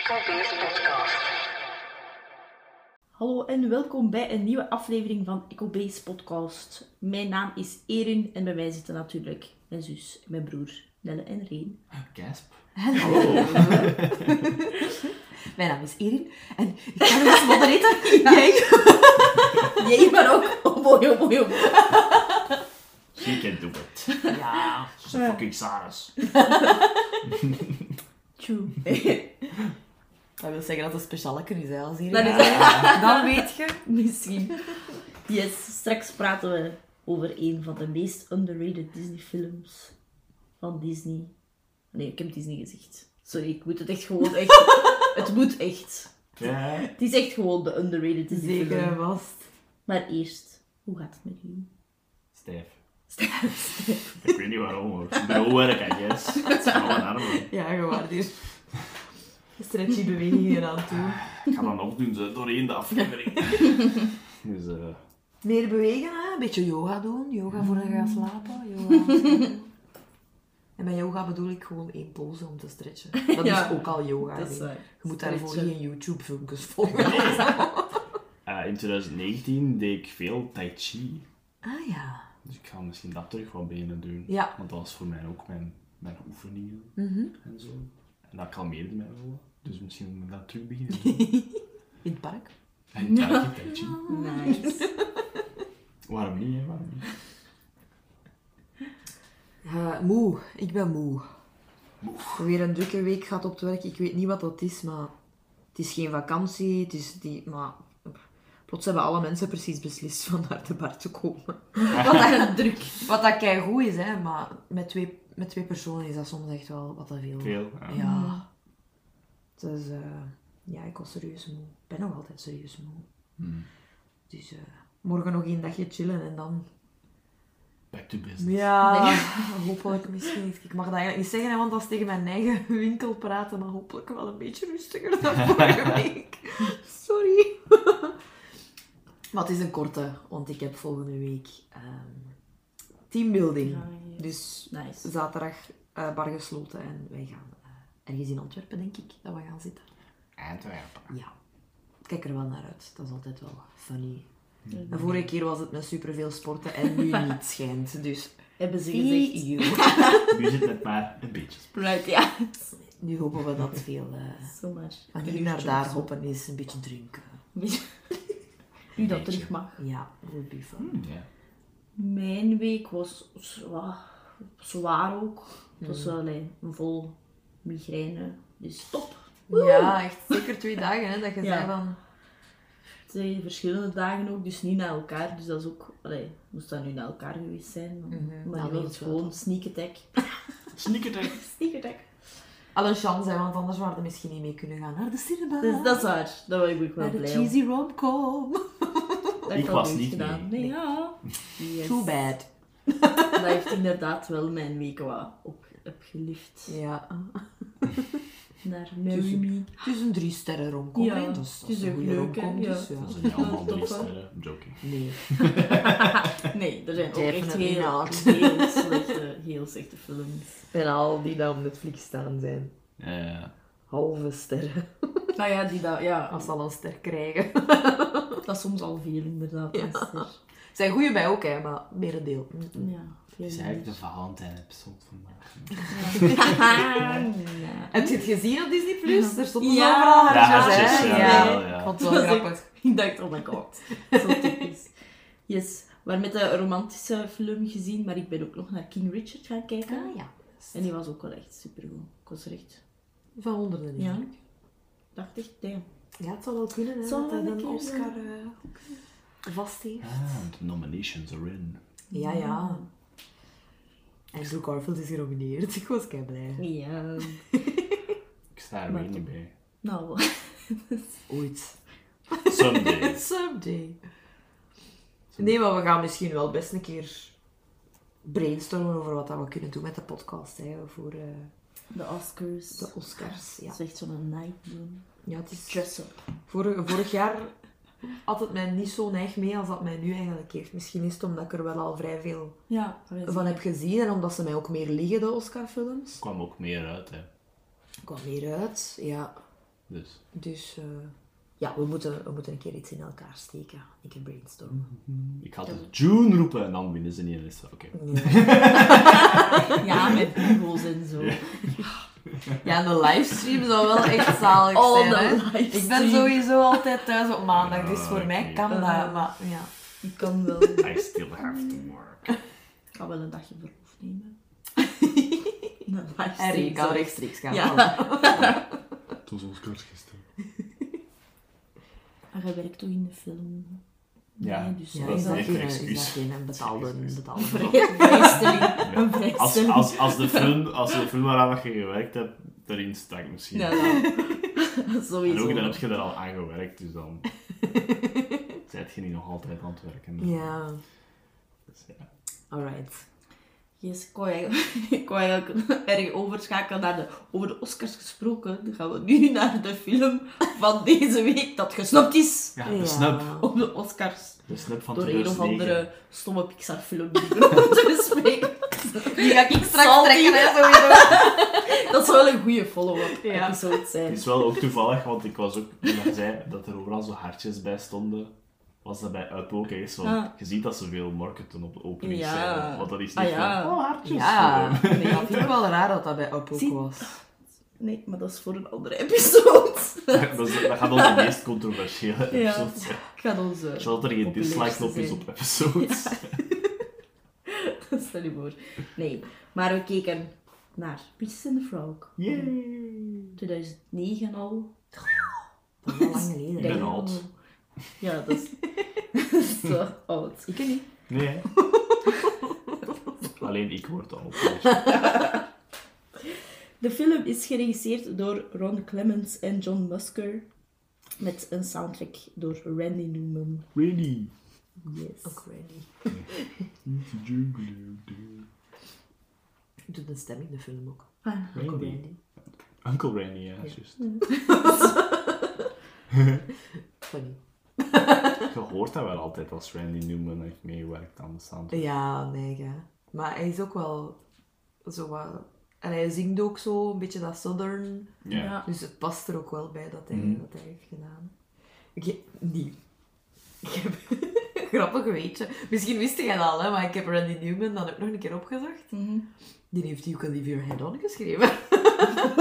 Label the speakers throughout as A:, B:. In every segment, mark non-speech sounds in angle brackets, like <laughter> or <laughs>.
A: Xtrabeers Podcast.
B: Hallo en welkom bij een nieuwe aflevering van EcoBase Podcast. Mijn naam is Erin en bij mij zitten natuurlijk mijn zus, mijn broer Nelle en Reen.
C: Gasp.
D: Mijn naam is Erin en ik ben als moderator. Jij?
B: Jij, maar ook <laughs> oh boy, oh boy, oh boy.
C: You can do it.
D: <laughs> Ja.
C: She's a fucking Sarus.
B: Tjoe. <laughs>
D: Dat wil zeggen dat het speciaal is hè, als Erin.
B: Dat is
D: <laughs> Dan weet je.
B: Misschien. Yes, straks praten we over een van de meest underrated Disney films van Disney. Nee, ik heb Disney gezegd. Sorry, ik moet het echt gewoon
D: <laughs>
B: echt... het moet echt.
C: Ja.
B: Het is echt gewoon de underrated Disney film.
D: Zeker vast.
B: Maar eerst, hoe gaat het met jullie?
C: Stijf. Ik weet niet waarom hoor. Bureauwerk, I guess. Het is gewoon een arm, hoor.
D: Ja, gewaardeerd. hier. Stretchy bewegingen aan toe.
C: Ik ga dat nog doen, ze, doorheen de
D: <laughs>
C: aflevering. Dus, eh...
D: Meer bewegen, hè? een beetje yoga doen. Yoga voordat je gaat slapen. Yoga
B: <laughs>
D: als je gaat doen. en bij yoga bedoel ik gewoon één pose om te
B: <laughs>
D: stretchen. Dat
B: Ja.
D: is ook al yoga.
B: Dat is
D: hè.
B: waar.
D: Je moet daarvoor
B: Stretchen.
D: geen YouTube-filmpjes volgen.
C: eh, in 2019 deed ik veel Tai Chi.
D: Ah ja.
C: Dus ik ga misschien dat terug wat beginnen doen.
D: Ja. Mhm.
C: Want dat was voor mij ook mijn, mijn oefeningen en zo. En dat kalmeerde mij wel. Dus misschien moet ik dat terug
D: <laughs>
C: beginnen doen.
D: In het park.
C: En ja, Tai Chi.
B: Nice.
C: Waarom niet, hè? Waarom niet?
D: Eh, moe, ik ben moe. Weer een drukke week gehad op het werk. Ik weet niet wat dat is, maar het is geen vakantie. Het is die, maar plots hebben alle mensen precies beslist van naar de bar te komen. <laughs> wat
B: <laughs>
D: dat druk. Wat dat kei goed is, hè? Maar met twee, met twee personen is dat soms echt wel wat te veel.
C: Veel. ja.
D: Ja. Dus eh, ja, ik was serieus moe. Ik ben nog altijd serieus moe. Dus eh, morgen nog één dagje chillen en dan
C: Back to business.
D: ja, <laughs> hopelijk misschien. niet. Ik mag dat eigenlijk niet zeggen, hè, want dat is tegen mijn eigen winkel praten, maar hopelijk wel een beetje rustiger dan vorige week. Sorry. Maar het is een korte, want ik heb volgende week ehm, teambuilding. Dus
B: Nice.
D: zaterdag eh, bar gesloten en wij gaan eh, ergens in Antwerpen, denk ik, dat we gaan zitten.
C: Antwerpen.
D: Ja. Ik Kijk er wel naar uit. Dat is altijd wel funny. De vorige keer was het met superveel sporten en nu <laughs> niet schijnt. Dus
B: Hebben ze
D: Feed
B: gezegd.
D: you.
C: Nu zit het maar een beetje.
B: Right, ja.
D: Nu hopen we dat veel eh,
B: Zomaar.
D: van hier naar daar
B: <laughs>
D: hoppen is, een beetje drinken.
B: Nu dat terug mag.
D: Ja, goed buffen.
C: Hm, Ja.
B: Mijn week was zwa- zwaar ook. Het
D: Mm.
B: was wel een vol migraine. Dus top.
D: Ja, echt zeker twee dagen hè, dat je
B: Ja.
D: zei van...
B: Twee verschillende dagen ook, dus niet na elkaar. Dus dat is ook... Allee, moest dat nu na elkaar geweest zijn.
D: Mhm.
B: dan- Maar nu
D: Dan
B: was
D: weet
B: het
D: je wel.
B: gewoon sneak
D: <laughs>
B: attack.
C: Sneak attack.
B: sneak attack.
D: Al een chance, hè, want anders waren we misschien niet mee kunnen gaan naar de cinema.
B: Dus dat is waar. Daar ben ik ook wel
D: naar de
B: blij om.
D: cheesy romcom.
B: Dat
C: Ik
B: had
C: was
B: nooit
C: niet
B: gedaan.
C: mee.
B: Nee, ja.
D: <laughs>
B: Yes.
D: Too bad.
B: Dat heeft inderdaad wel mijn week wat op, opgelift.
D: Ja.
B: Naar Marry Me.
D: Het is een drie sterren romcom.
B: Ja,
D: hè, Dat is,
B: het
D: dat
B: is
D: is een
B: ook
D: goede
B: leuk, hè,
D: romcom.
B: ja.
D: Dus, ja.
C: Dat zijn allemaal drie
B: Toffe.
C: sterren. I'm joking.
D: Nee.
B: Nee, er zijn ook echt
D: Definitely
B: heel,
D: not.
B: heel, slechte, heel slechte films.
D: En al die daar op Netflix staan zijn.
C: Eh,
D: Halve sterren.
B: Nou ja, die dat, ja,
D: Als ze al een ster krijgen.
B: dat is soms al veel inderdaad.
D: Ja.
B: een ster.
D: Zijn goede bij ook, hè, maar merendeel. mm, mm.
B: ja veel
C: Het is
B: minder.
C: eigenlijk de Valentijn-episode vandaag.
B: <laughs> Ja.
D: Heb je het gezien op Disney Plus? Er stond
B: Ja.
D: overal
C: Ja,
D: hartjes,
C: hartjes,
D: hè?
C: ja, wel, ja.
D: Ik vond het wel grappig.
B: Ik dacht, oh my god, zo typisch. Yes, we hebben met een romantische film gezien, maar ik ben ook nog naar King Richard gaan kijken.
D: Ah ja.
B: En die was ook wel echt supergoed. Ik was er echt,
D: Van honderden
B: Ja.
D: eigenlijk.
B: dacht echt, damn.
D: Ja. het zal wel kunnen, hè.
B: Het zal
D: dat
B: wel
D: hij
B: een
D: een
B: keer
D: Oscar eh, vast heeft.
C: Ah, de nominations are in.
D: Ja, ja. En Drew Garfield is genomineerd. <laughs> Ik was kei blij.
B: Ja,
C: Ik sta er weer niet bij.
B: nou,
D: Ooit.
C: Someday.
D: Someday. Nee, maar we gaan misschien wel best een keer brainstormen over wat dat we kunnen doen met de podcast, hè. Voor eh,
B: de Oscars.
D: de Oscars, ja.
B: Dat is echt zo'n night doen.
D: Ja, het is
B: Dress-up.
D: Vorig, vorig jaar had het mij niet zo neig mee als dat mij nu eigenlijk heeft. Misschien is het omdat ik er wel al vrij veel
B: Ja,
D: van heb gezien en omdat ze mij ook meer liggen, de Oscarfilms.
C: Er kwam ook meer uit, hè.
D: Ik kwam meer uit, ja.
C: Dus.
E: Dus eh, ja, we moeten, we moeten een keer iets in elkaar steken. Een keer brainstormen.
C: Ik ga dus June roepen en dan winnen ze niet eens. Oké.
E: Ja,
B: <laughs> Ja, met bugels en zo.
D: <laughs> Ja, een livestream zou wel echt zalig
B: Oh,
D: zijn.
B: de
D: hè. Ik
B: livestream.
D: ben sowieso altijd thuis op maandag,
C: Ja,
D: dus voor mij
C: Ah, oké.
D: kan dat.
B: Eh.
D: Maar ja.
B: Ik kan wel,
C: I still have to work.
B: ik kan wel een dagje verlof <laughs> nemen. Een livestream
D: En Rien kan
B: zo.
D: rechtstreeks gaan.
B: Ja.
C: Het was ons kort
B: <laughs>
C: gisteren.
B: Maar hij werkt toch in de film?
C: Ja.
B: Nee, dus
C: Ja,
B: dat is
C: dat
B: al
C: echt
D: geen,
C: een
D: is dat
C: excuus.
D: geen betaalde,
C: Excuus.
D: betaalde job.
B: <laughs> een vrijstelling. Een
C: Als,
B: vrijstelling.
C: als, als, de
B: <laughs>
C: film, als de film waaraan je gewerkt hebt, daarin stak misschien.
B: Ja, ja. Sowieso.
C: en ook dan heb je daar al aan gewerkt, dus
B: <laughs>
C: dan... Zijt je niet nog altijd aan het werken.
E: ja.
C: Dus ja.
E: alright.
B: Yes, ik wou eigenlijk, <laughs> ik wou eigenlijk erg overschakelen naar de... Over de Oscars gesproken, dan gaan we nu naar de film van deze week dat gesnopt is
C: ja, de snap.
E: <laughs>
B: op de Oscars.
C: De snap van
B: Door een of
C: 2009.
B: andere stomme Pixar-film die ik nog te <laughs> bespreken.
D: Die ga ik straks
B: Salty.
D: trekken, hè,
E: <laughs>
D: sowieso.
B: Dat zou wel een goede follow-up
D: Ja.
B: episode zijn.
C: Het is wel ook toevallig, want ik was ook, toen je zei dat er overal zo hartjes bij stonden, was dat bij uitloken eens. Want
B: Ah.
C: je ziet dat ze veel marketen op de opening
B: Ja.
C: zijn. Want dat is niet
B: Ah, ja.
C: van, oh, hartjes.
D: Ja,
C: Eh,
D: nee, dat vind ik wel raar dat dat bij Up ook
B: Zie-
D: was.
B: Nee, maar dat is voor een andere
C: <laughs>
B: episode.
C: dat, is- dat gaat
B: <laughs>
C: onze meest controversiële
B: Ja.
C: episode zijn.
B: Ik ga onze...
C: Ik zal dat er geen
B: Populairste
C: dislike-knop is
B: zijn.
C: op episodes.
B: <laughs> Stel je voor. Nee, maar we keken naar Princess and the Frog.
C: Yay!
B: 2009 al.
E: Dat is al lang geleden.
C: Ik ben
B: Damn.
C: oud.
B: Ja, dat is, <laughs> dat is zo oud.
E: Ik ken niet.
C: Nee, hè? <laughs> Alleen ik word <laughs> al.
B: De film is geregisseerd door Ron Clements en John Musker. Met een soundtrack door Randy Newman.
C: Really?
B: Yes.
E: Ook Randy. Doet een stem in de film ook.
B: Ah,
E: Ook
C: Randy.
E: Randy.
C: Uncle Randy, ja, juist.
E: Funny.
C: Je hoort dat wel altijd als Randy Newman heeft meegewerkt aan de soundtrack.
D: Ja, nee, ja. Maar hij is ook wel zo wat... En hij zingt ook zo, een beetje dat Southern.
C: Ja.
B: Ja.
D: Dus het past er ook wel bij dat hij
C: Mhm.
D: dat hij heeft gedaan. Ik heb... Nee. Ik heb... <laughs> Grappig weetje. Misschien wist jij dat al, hè, maar ik heb Randy Newman dan ook nog een keer opgezocht.
B: Mhm.
D: Die heeft You Can Leave Your Head On geschreven. <laughs>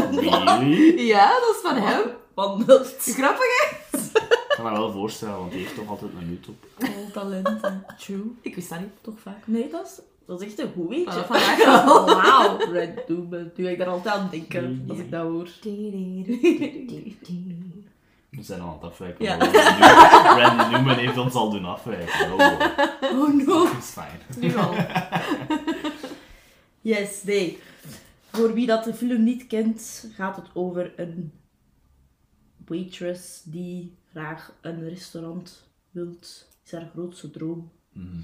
C: Really?
D: ja, dat is van hem.
B: Wandelt.
D: Grappig, hè?
C: Ik kan me wel voorstellen, want die heeft toch altijd een minuut op.
B: Vol talenten. True.
D: Ik wist dat niet.
B: <laughs> Toch vaak. Nee, dat is, dat is echt een goed weetje. Oh,
D: Vanaf
B: <laughs>
D: <laughs> vandaag wel.
B: Wauw. Randy Newman. Nu ga ik daar altijd aan denken.
C: Nee,
B: Als
C: nee.
B: ik dat hoor.
C: We zijn al aan het afwijken.
B: Ja.
C: maar Randy Newman- Randy Newman heeft ons al doen afwijken. Oh, wow.
B: Oh no.
C: dat is fijn.
B: Nu al. Yes, nee. Voor wie dat de film niet kent, gaat het over een waitress die graag een restaurant wilt. is haar grootste droom.
C: Mhm.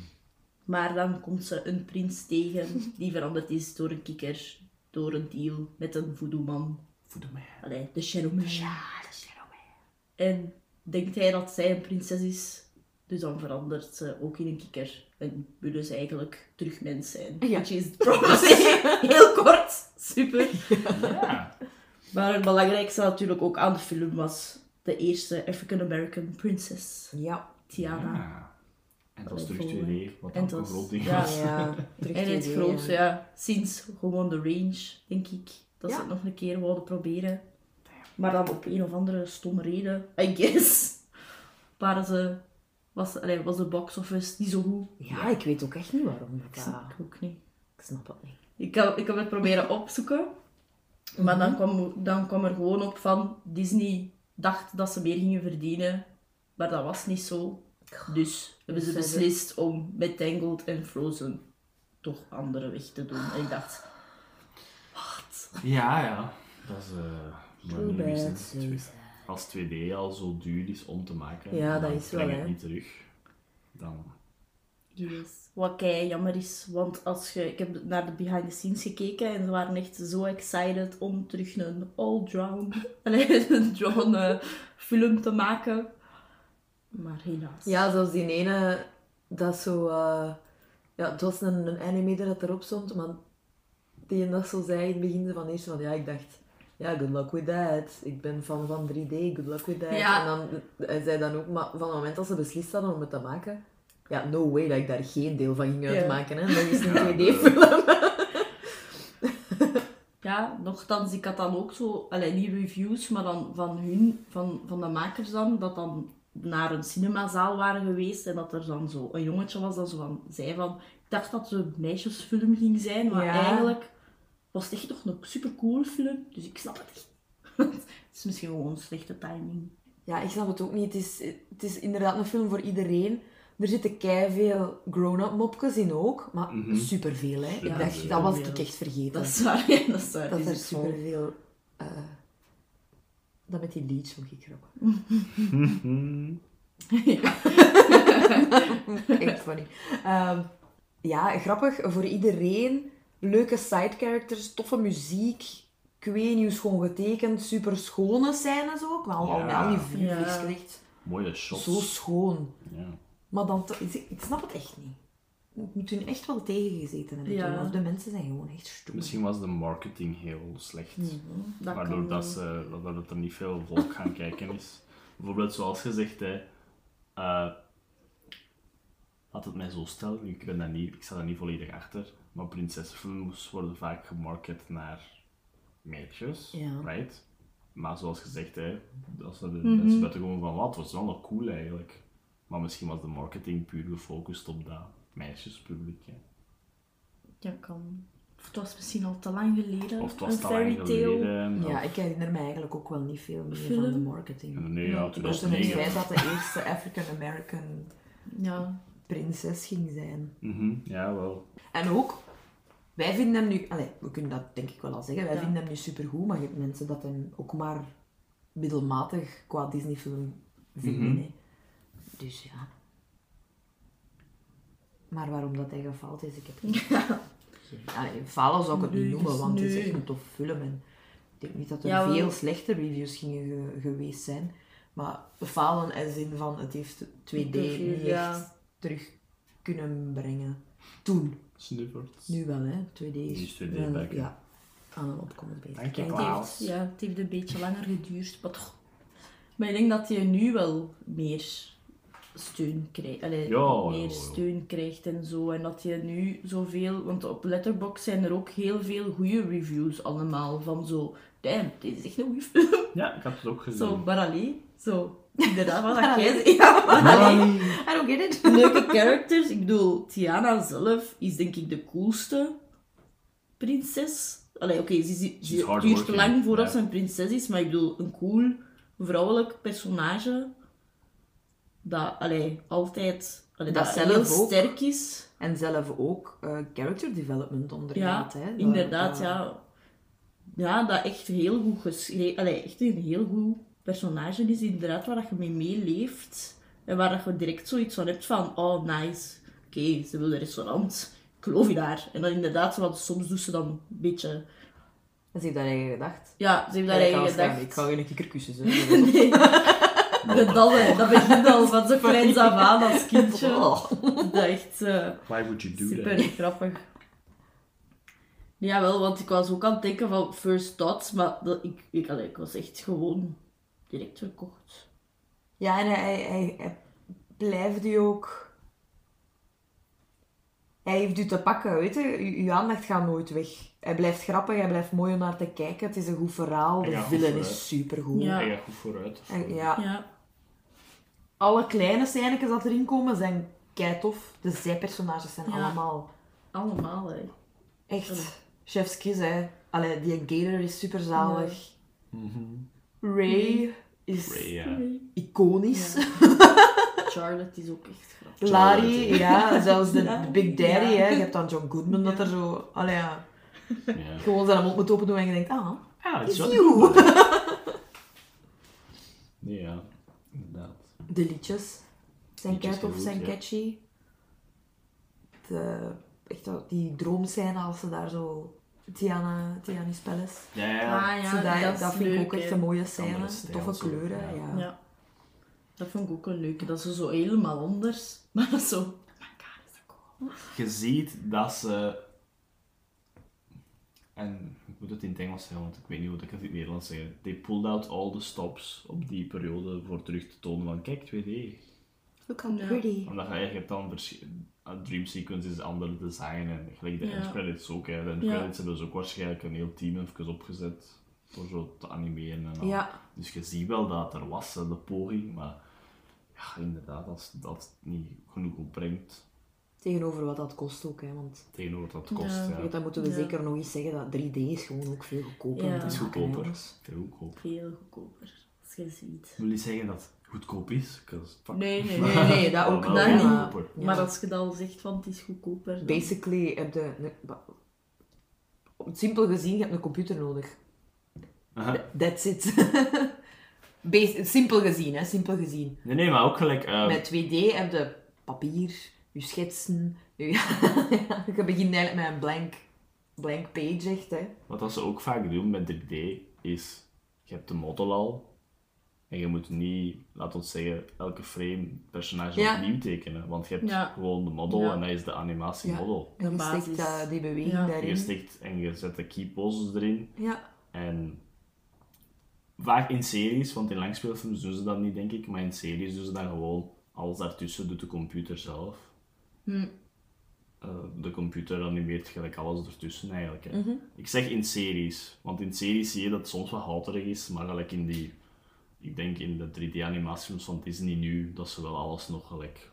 B: Maar dan komt ze een prins tegen die veranderd is door een kikker, door een deal met een voodoo-man.
C: Voelde mij.
B: Allee, de Cheromeer. En denkt hij dat zij een prinses is, dus dan verandert ze ook in een kikker. En willen ze eigenlijk terug mens zijn.
D: Ja.
B: Which is <laughs> promising. Heel kort. Super.
C: Ja.
B: Maar het belangrijkste natuurlijk ook aan de film was de eerste African-American princess,
E: Ja.
B: Tiana.
C: Ja. En dat was
B: Allee,
C: terug
B: volgende.
C: 2D, wat
B: En
C: ook
B: dat
C: een
B: was-
C: groot ding
B: ja.
C: was.
E: Ja. terug
B: En het
E: TV,
B: grootste,
E: ja.
B: ja. Sinds gewoon de range, denk ik. Dat
D: Ja.
B: ze het nog een keer wilden proberen. Maar dan op een of andere stomme reden, I guess. Waren ze... Was, allee, was de box office niet zo goed?
E: Ja, ik weet ook echt niet waarom. dat
B: Ik snap
E: dat-
B: het ook niet.
E: Ik snap het niet.
B: Ik heb, ik heb het proberen opzoeken. Maar dan kwam, dan kwam er gewoon op van... Disney dacht dat ze meer gingen verdienen. Maar dat was niet zo. Dus hebben ze
E: Dus zij
B: beslist om met Tangled en Frozen toch andere weg te doen. En ik dacht... Wat?
C: Ja, ja. Dat is... eh, maar
E: Too
C: nu is
E: bad,
C: het twee- Als 2D al zo duur is om te maken,
E: Ja, dat
C: en dan
E: is wel,
C: breng
E: hè.
C: je het niet terug. Dan...
B: Yes. Wat kei jammer is, want als je, ik heb naar de behind the scenes gekeken en ze waren echt zo excited om terug een all-drown <laughs> allee, een drown, eh, film te maken. Maar helaas.
D: Ja, zoals die ene, dat zo... eh, ja, het was een, een anime dat erop stond, maar die en dat zo zei in het begin van eerst van, ja, ik dacht,
E: ja, good luck with that. Ik ben fan van 3D, good luck with that.
D: Ja.
E: En dan hij zei dan ook, maar van het moment dat ze beslist hadden om het te maken, ja, no way dat ik daar geen deel van ging
B: <laughs> Ja.
E: uitmaken. Hè. Dat is een 2D-film.
B: Ja, nochtans, ik had dan ook zo, allee, niet reviews, maar dan van hun, van, van de makers dan, dat dan naar een cinemazaal waren geweest en dat er dan zo een jongetje was dat zo van, zei van, ik dacht dat het een meisjesfilm ging zijn, maar
D: Ja.
B: eigenlijk was het echt nog een supercool film, dus ik snap het echt. <laughs> het is misschien gewoon slechte timing.
D: Ja, ik snap het ook niet. Het is, het is inderdaad een film voor iedereen. Er zitten veel grown-up mopjes in ook, maar
C: Mhm.
D: superveel, hè. Ik dacht,
C: Superveel.
D: dat was ik echt
B: Dat
D: vergeten. Dat,
B: is waar, <laughs> ja, dat is waar. Dus Die
D: er
B: zit vol.
D: superveel... eh dat met die liedjes vond ik grappig.
B: ja.
D: <laughs> Echt funny. Ehm, ja, grappig voor iedereen. Leuke side characters, toffe muziek. Ik weet niet, schoon getekend. Super schone scènes ook. Maar al, al met al die vuur
B: Ja.
D: is het echt
C: Mooie shots.
D: zo schoon.
C: Ja.
D: Maar dan, toch- ik ik snap het echt niet. Ik moet hun echt wel tegengezeten hebben.
B: Ja.
D: toen, Of de mensen zijn gewoon echt stoer.
C: Misschien was de marketing heel slecht.
B: dat
C: Waardoor
B: kan
C: dat,
B: wel.
C: ze, waardoor dat er niet veel volk gaan kijken is. Bijvoorbeeld, zoals gezegd, hè, eh, laat het mij zo stellen, ik, ben daar niet, ik sta daar niet volledig achter, maar prinsessenfilms worden vaak gemarket naar meisjes,
D: Ja.
C: right? Maar zoals gezegd, hè, als er de mensen buiten komen van wat, was wel nog cool eigenlijk. Maar misschien was de marketing puur gefocust op dat meisjespubliek. Hè.
B: Ja, kan. Of het was misschien al te lang geleden.
C: Of het was
B: een
C: te lang
B: fairy tale.
C: geleden.
D: Ja,
C: of-
D: ik herinner me eigenlijk ook wel niet veel meer van
B: Film?
D: de marketing.
C: Nee, ja,
D: Buiten het
C: 2009.
D: feit dat de eerste African-American
B: Ja.
D: prinses ging zijn.
C: Mhm, Ja, wel.
D: En ook, wij vinden hem nu, allee, we kunnen dat denk ik wel al zeggen, wij
B: Ja.
D: vinden hem nu supergoed, maar je hebt mensen dat hem ook maar middelmatig qua Disney-film vinden.
C: Mhm.
D: hè. Dus ja. Maar waarom dat hij gefaald is, ik heb geen Allee, falen zou ik het niet
B: Nee,
D: noemen,
B: dus
D: want het is
B: nee.
D: echt een tof film. En ik denk niet dat er
B: Ja, wel.
D: veel slechte reviews gingen ge- geweest zijn. Maar falen in zin van het heeft 2D
B: Interview,
D: niet
B: ja.
D: echt terug kunnen brengen. Toen.
C: Snuffert.
D: Nu wel, hè. 2D
C: Nu is 2D
D: wel-
C: back, hè.
D: Ja. Aan een opkomst bezig.
C: Dank je,
D: En
B: Het
C: Wauw.
B: heeft, ja, het heeft een beetje langer geduurd, maar toch. Maar ik denk dat je nu wel meer steun krijgt. Allee,
C: Ja, ja,
B: meer
C: ja.
B: steun krijgt en zo. En dat je nu zoveel... Want op Letterboxd zijn er ook heel veel goede reviews allemaal. Van zo... Damn, dit is echt een goeie film. <laughs>
C: Ja, ik had het ook gezien.
B: Zo, maar alleen, Zo, inderdaad, wat dat jij
D: Allee.
B: zegt. Ja, maar alleen.
D: I don't get it. <laughs>
B: leuke characters. Ik bedoel, Tiana zelf is denk ik de coolste prinses. Allee, oké, ze- ze-
C: She's
B: ze- het duurt
C: hardworking,
B: lang voordat
C: ja.
B: ze een prinses is, maar ik bedoel, een cool vrouwelijk personage dat allee, altijd allee,
D: Dat
B: dat
D: zelf
B: heel
D: ook.
B: sterk is.
D: En zelf ook eh, character development
B: Ja,
D: ondergaat, hè. Dat-
B: inderdaad,
D: dat-
B: ja. Ja, dat echt heel goed geschreven, allee, echt een heel goed personage is inderdaad, waar dat je mee meeleeft. En waar dat je direct zoiets van hebt van, oh nice, oké, ze wil een restaurant, ik geloof je daar. En dan inderdaad, zo wat- soms doet ze dan een beetje,
D: En ze heeft daar eigen gedacht.
B: ja, ze heeft daar
D: Ja, ik kan
B: eigen
D: wel
B: gedacht.
D: staan. Ik ga geen kikker kussen, hè.
B: <laughs> Nee, dat, dat, dat begint al van
D: <laughs>
B: zo kleins af aan als kindje.
D: Oh.
B: Dat echt... eh,
C: Why would you do
B: Super
C: that?
B: grappig. Jawel, want ik was ook aan het denken van First Thoughts, maar dat, ik, ik, allee, ik was echt gewoon direct verkocht.
D: Ja, en hij, hij, hij blijft u ook... Hij heeft u te pakken, weet je. U- uw aandacht gaat nooit weg. Hij blijft grappig, hij blijft mooi om naar te kijken. Het is een goed verhaal.
C: Hij
D: De
C: gaat
D: villain
C: goed
D: is
C: vooruit.
D: supergoed.
B: Ja.
C: Hij gaat goed vooruit. of
D: En,
C: zo.
D: ja,
B: Ja,
D: alle kleine scènetjes dat erin komen zijn keitof. De zijpersonages zijn
B: Ja.
D: allemaal
B: allemaal hè.
D: echt chef's kiss, hè. Allee, die Gator is superzalig. Ray
B: Mhm.
D: is
C: Mhm. Ray, ja.
D: iconisch.
B: Charlotte is ook echt grappig.
D: Larry, ja, zelfs de
B: Ja.
D: Big Daddy,
B: Ja.
D: hè. Je hebt dan John Goodman dat er zo... Allee, ja. <laughs>
C: Ja.
D: Gewoon zijn mond moet open doen en je denkt, ah,
C: Ja, het
D: it's
C: is wel-
D: you.
C: Nee, <laughs> ja. Inderdaad.
D: De liedjes zijn
C: Liedjes
D: cat of
C: heel
D: zijn
C: goed, ja.
D: catchy. De, echt dat- die droomscène als ze daar zo... Tiana, Tiani's Palace.
C: Ja,
B: Ah ja,
D: Zo, dat,
B: dat, is
D: dat vind ik
B: leuk,
D: ook echt
B: hè.
D: een mooie scène.
C: Andere stijl
D: Toffe
C: zo,
D: kleuren,
C: ja.
D: ja.
B: Ja. Dat vond ik ook een leuke. Dat ze zo helemaal anders, <laughs> maar dat is zo... Oh my god, is dat cool.
C: Je ziet dat ze En ik moet het in het Engels zeggen, want ik weet niet hoe ik het in het Nederlands zeg. They pulled out all the stops op die periode voor terug te tonen van kijk, 2D.
D: Look how
B: Ja.
D: pretty.
C: Omdat je eigenlijk dan vers- een dream sequence is ander design en gelijk de
B: Ja.
C: end credits ook. Hè. De end
B: Ja.
C: credits hebben ze ook waarschijnlijk een heel team even opgezet voor zo te animeren en al.
D: Ja,
C: Dus je ziet wel dat er was hè, de poging, maar ja, inderdaad, als dat niet genoeg opbrengt
D: tegenover wat dat kost ook, hè, want
C: tegenover wat
B: Ja.
C: dat kost, ja.
D: ja. dat moeten we
B: Ja.
D: zeker nog eens zeggen, dat 3D is gewoon ook veel goedkoper. om
B: Ja.
D: te
B: Het is
D: maken, hè,
C: goedkoper.
D: jongens.
C: Heel goedkoop.
B: Veel goedkoper. Als jij ziet.
C: Wil je zeggen dat het goedkoop is? 'Cause fuck.
B: Nee, nee,
D: Nee,
B: nee.
D: nee,
B: <laughs>
C: <laughs>
D: nee, dat
C: Maar
D: ook
C: wel
B: dat niet.
C: goedkoper.
D: Ja.
B: Maar als je dan zegt van het is goedkoper. dan-
D: Basically heb je... een- ba- op het simpel gezien, je hebt een computer nodig.
C: Aha.
D: That's it. <laughs> Bas- simpel gezien, hè. Simpel gezien.
C: Nee, nee, maar ook gelijk... eh,
D: Met 2D heb je papier, je schetsen. Je, <laughs> je begint eigenlijk met een blank, blank page, echt, hè.
C: Wat dat ze ook vaak doen met 3D is, je hebt de model al en je moet niet, laat ons zeggen, elke frame het personage
D: Ja.
C: opnieuw tekenen. Want je hebt
B: Ja.
C: gewoon de model
B: Ja.
C: en dat is de animatiemodel.
D: En
B: De
D: je
B: basis.
D: steekt eh, die beweging
B: Ja.
C: Je
D: daarin.
C: stikt en je zet de key poses erin.
D: Ja.
C: En vaak in series, want in langspeelfilms doen ze dat niet, denk ik, maar in series doen ze dan gewoon alles daartussen, doet de computer zelf.
B: Hm.
C: Eh, de computer animeert gelijk alles ertussen eigenlijk. Hè.
D: Mhm.
C: Ik zeg in series, want in series zie je dat het soms wat houterig is, maar gelijk in die, ik denk in de 3D-animatiefilms van Disney nu, dat ze wel alles nog gelijk,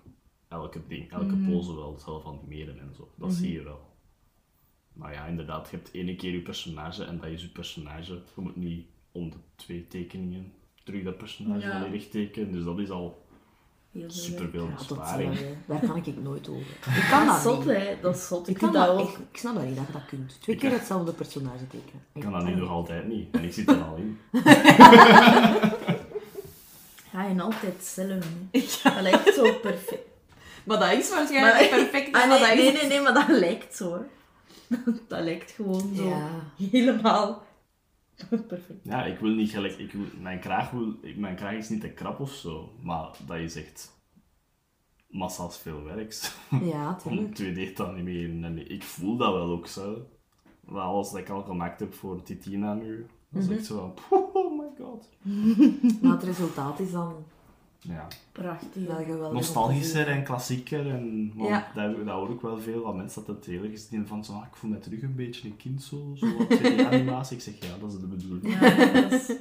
C: elke ding, elke
D: Mhm.
C: pose wel zelf animeren en zo. Dat zie je wel. Maar ja, inderdaad, je hebt ene keer je personage en dat is je personage. Je moet niet om de twee tekeningen terug dat personage
B: Ja.
C: volledig tekenen, dus dat is al
B: Heel veel werk.
C: superveel
D: Ja, dat,
C: besparing.
D: eh, daar kan ik nooit over. Ik kan
B: Dat
D: dat
B: is zot,
D: niet.
B: hè. Dat is zot.
D: Ik,
B: Ik
D: kan
B: doe
D: dat
B: dat
D: ook.
B: ook.
D: Ik, ik snap dat niet dat je dat kunt. Twee
C: Ik-
D: keer hetzelfde personage tekenen.
C: Ik kan dat nu nog altijd niet, en ik zit er al in.
B: Ga je altijd zelf, hè.
D: <laughs>
B: Dat lijkt zo perfect.
D: Maar dat is
B: Maar-
D: waarschijnlijk <laughs> perfect.
B: Ah,
D: maar
B: nee,
D: dat is-
B: nee, nee, nee, maar dat lijkt zo, hè. <laughs> Dat lijkt gewoon zo.
D: Ja.
B: Helemaal. <laughs> Perfect.
C: Ja, ik wil niet gelijk. Ik wil, mijn, kraag wil, ik- mijn kraag is niet te krap of zo, maar dat is echt massa's veel werks.
D: Ja,
C: <laughs>
D: tuurlijk.
C: Om 2D te animeren. En ik voel dat wel ook zo. Maar alles dat ik al gemaakt heb voor Titina nu, dat is echt zo van, <laughs> "Poeh, oh my god.
D: Maar het resultaat is dan
C: Ja.
B: Prachtig.
D: wel geweldig.
C: Nostalgischer en klassieker. En, want
D: Ja.
C: dat, dat hoor ik wel veel van mensen dat het heel erg is. Die van zo, "Ah, ik voel mij terug een beetje een kind zo. Zo wat 2D-animatie. Ik zeg ja, dat is de bedoeling.
B: Ja, dat is-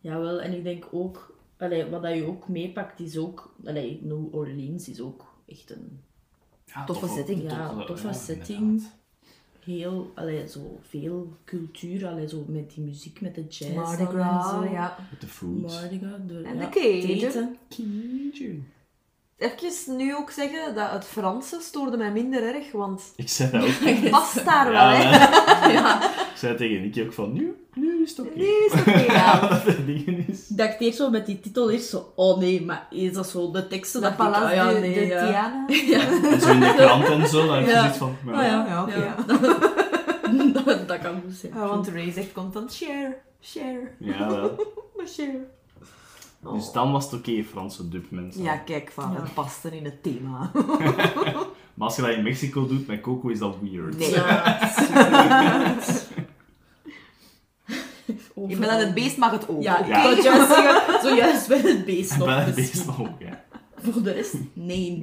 B: Jawel, en ik denk ook, allee, wat dat je ook meepakt is ook, allee, New Orleans is ook echt een
C: Ja,
D: Toffe setting,
B: ja, toffe setting. heel, allee, zo veel cultuur, allee, zo met die muziek, met de jazz.
D: Mardi
B: dan en
D: Gras,
B: zo.
D: ja.
C: Met de food.
B: Mardi Gras, de,
D: En
B: ja,
D: de Cajun.
B: eten.
D: Even nu ook zeggen dat het Franse stoorde mij minder erg, <laughs> want
C: Ik zei dat ook.
D: het past daar wel,
C: Ja,
D: hè.
C: hè.
D: <laughs>
B: Ja.
C: ik zei tegen Nicky ook van, nu, nu is het oké.
D: Nu is het oké. ja.
C: <laughs> Dat het dingen is.
B: Ik dacht eerst zo met die titel eerst zo, oh nee, maar is dat zo, de teksten,
D: De
B: dacht ik, ah
D: Palace
B: ja,
D: de,
B: nee,
D: de
B: ja.
D: Tiana.
B: <laughs> Ja,
C: En zo in de krant en zo, dan heb je
B: Ja.
C: zoiets van,
B: Ah, ja,
D: Oh, ja, oké,
B: ja. <laughs> dat, dat kan goed zijn.
D: Ja, Oh, want Ray zegt constant share, share,
C: ja, wel.
D: maar share.
C: Dus dan was het oké, Franse dub, mensen.
D: Ja, kijk, van,
B: Ja.
D: het paste in het thema.
C: Maar als je dat in Mexico doet met Coco, is dat weird. <laughs>
D: Nee.
B: Ja.
D: Je bent aan het beest, Oh, mag het ook.
B: Ja, ik
D: Oké.
B: wou het juist zeggen, zojuist ben het beest
C: En
B: nog.
C: bij het
B: dus
C: beest nog, ja.
B: Voor de rest, nee.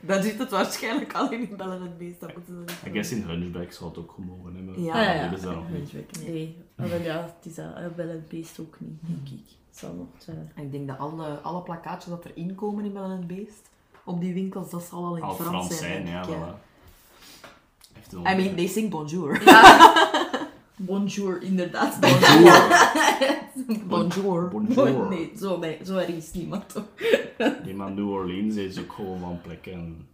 D: Dan zit het waarschijnlijk alleen in Bellen het Beest. Dat moeten
C: I
D: ze
C: guess in Hunchback zou het ook gemogen hebben.
D: Ja.
B: Ah, ja, ja.
C: Dat is daar nog niet.
B: Nee, ah, wel ja, het is dat. Ah, Wel het beest ook niet, denk ik. Het zal nog eh, twijfelen.
D: Ik denk dat alle, alle plakkaatjes dat erin komen in Bellen het Beest, op die winkels, dat zal wel in
C: Al
D: het Frans,
C: Frans zijn,
D: denk
C: ja,
D: ik, ja.
C: voilà. Heeft een
D: I mean, they sing bonjour.
B: Bonjour, inderdaad.
C: Bonjour.
D: Bonjour. <laughs>
C: Bonjour.
B: Nee, zo, nee, zo erg is niemand toch?
C: Die man New Orleans is ook gewoon van plekken. en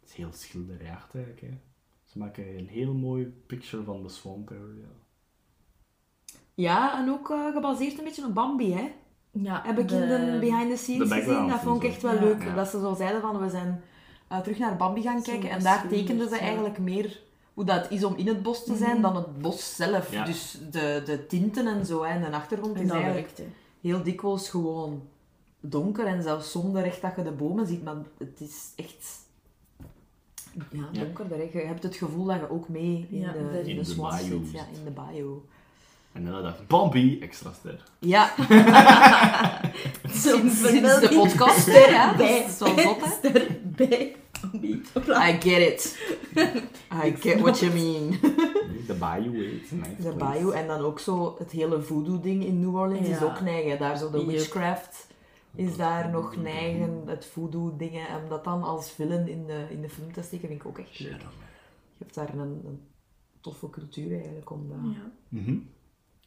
C: Het is heel schilderjacht eigenlijk. Hè. Ze maken een heel mooi picture van de Swamp Area.
D: Ja, en ook eh, gebaseerd een beetje op Bambi, hè.
B: Ja,
D: Heb ik in de behind the scenes
C: de
D: gezien.
C: background
D: Dat vond ik
C: en
D: echt
C: zo.
D: wel
B: Ja.
D: leuk.
C: Ja.
D: Dat ze zo zeiden van, we zijn eh, terug naar Bambi gaan
B: Zo
D: kijken. En daar tekenden ze
B: ja. Mhm.
D: eigenlijk meer hoe dat is om in het bos te zijn dan het bos zelf.
C: Ja.
D: Dus de, de tinten en zo, hè, en de achtergrond
B: En
D: is
B: dat <laughs>
D: eigenlijk
B: werkte.
D: heel dikwijls gewoon donker en zelfs zonder echt dat je de bomen ziet. Maar het is echt Ja, donkerder. hè. Je hebt het gevoel dat je ook mee in
B: Ja,
D: de,
B: in
D: in de,
C: de
D: swamp
C: bayou
D: zit.
C: zit.
D: Ja, in de bio.
C: En dan dacht ik, Bambi, extra ster.
D: Ja, <laughs>
B: Sinds,
D: sinds de
B: <laughs>
D: podcast er, hè.
B: Bij,
D: Dat is wel zot, hè.
B: ster, bij, ambi, opla-
D: I get it. I get what you mean.
C: Nee, De Bayou heet. Nice
D: De
C: place.
D: bayou en dan ook zo het hele voodoo-ding in New Orleans is
B: Ja.
D: ook neigen. Daar zo de
B: Yep.
D: witchcraft is daar nog neigen, het voodoo-dingen. En dat dan als villain in de, in de film te steken vind ik ook echt leuk.
C: Shadow Man.
D: Je hebt daar een, een toffe cultuur eigenlijk om eh, dat...
B: Ja.
C: Mhm.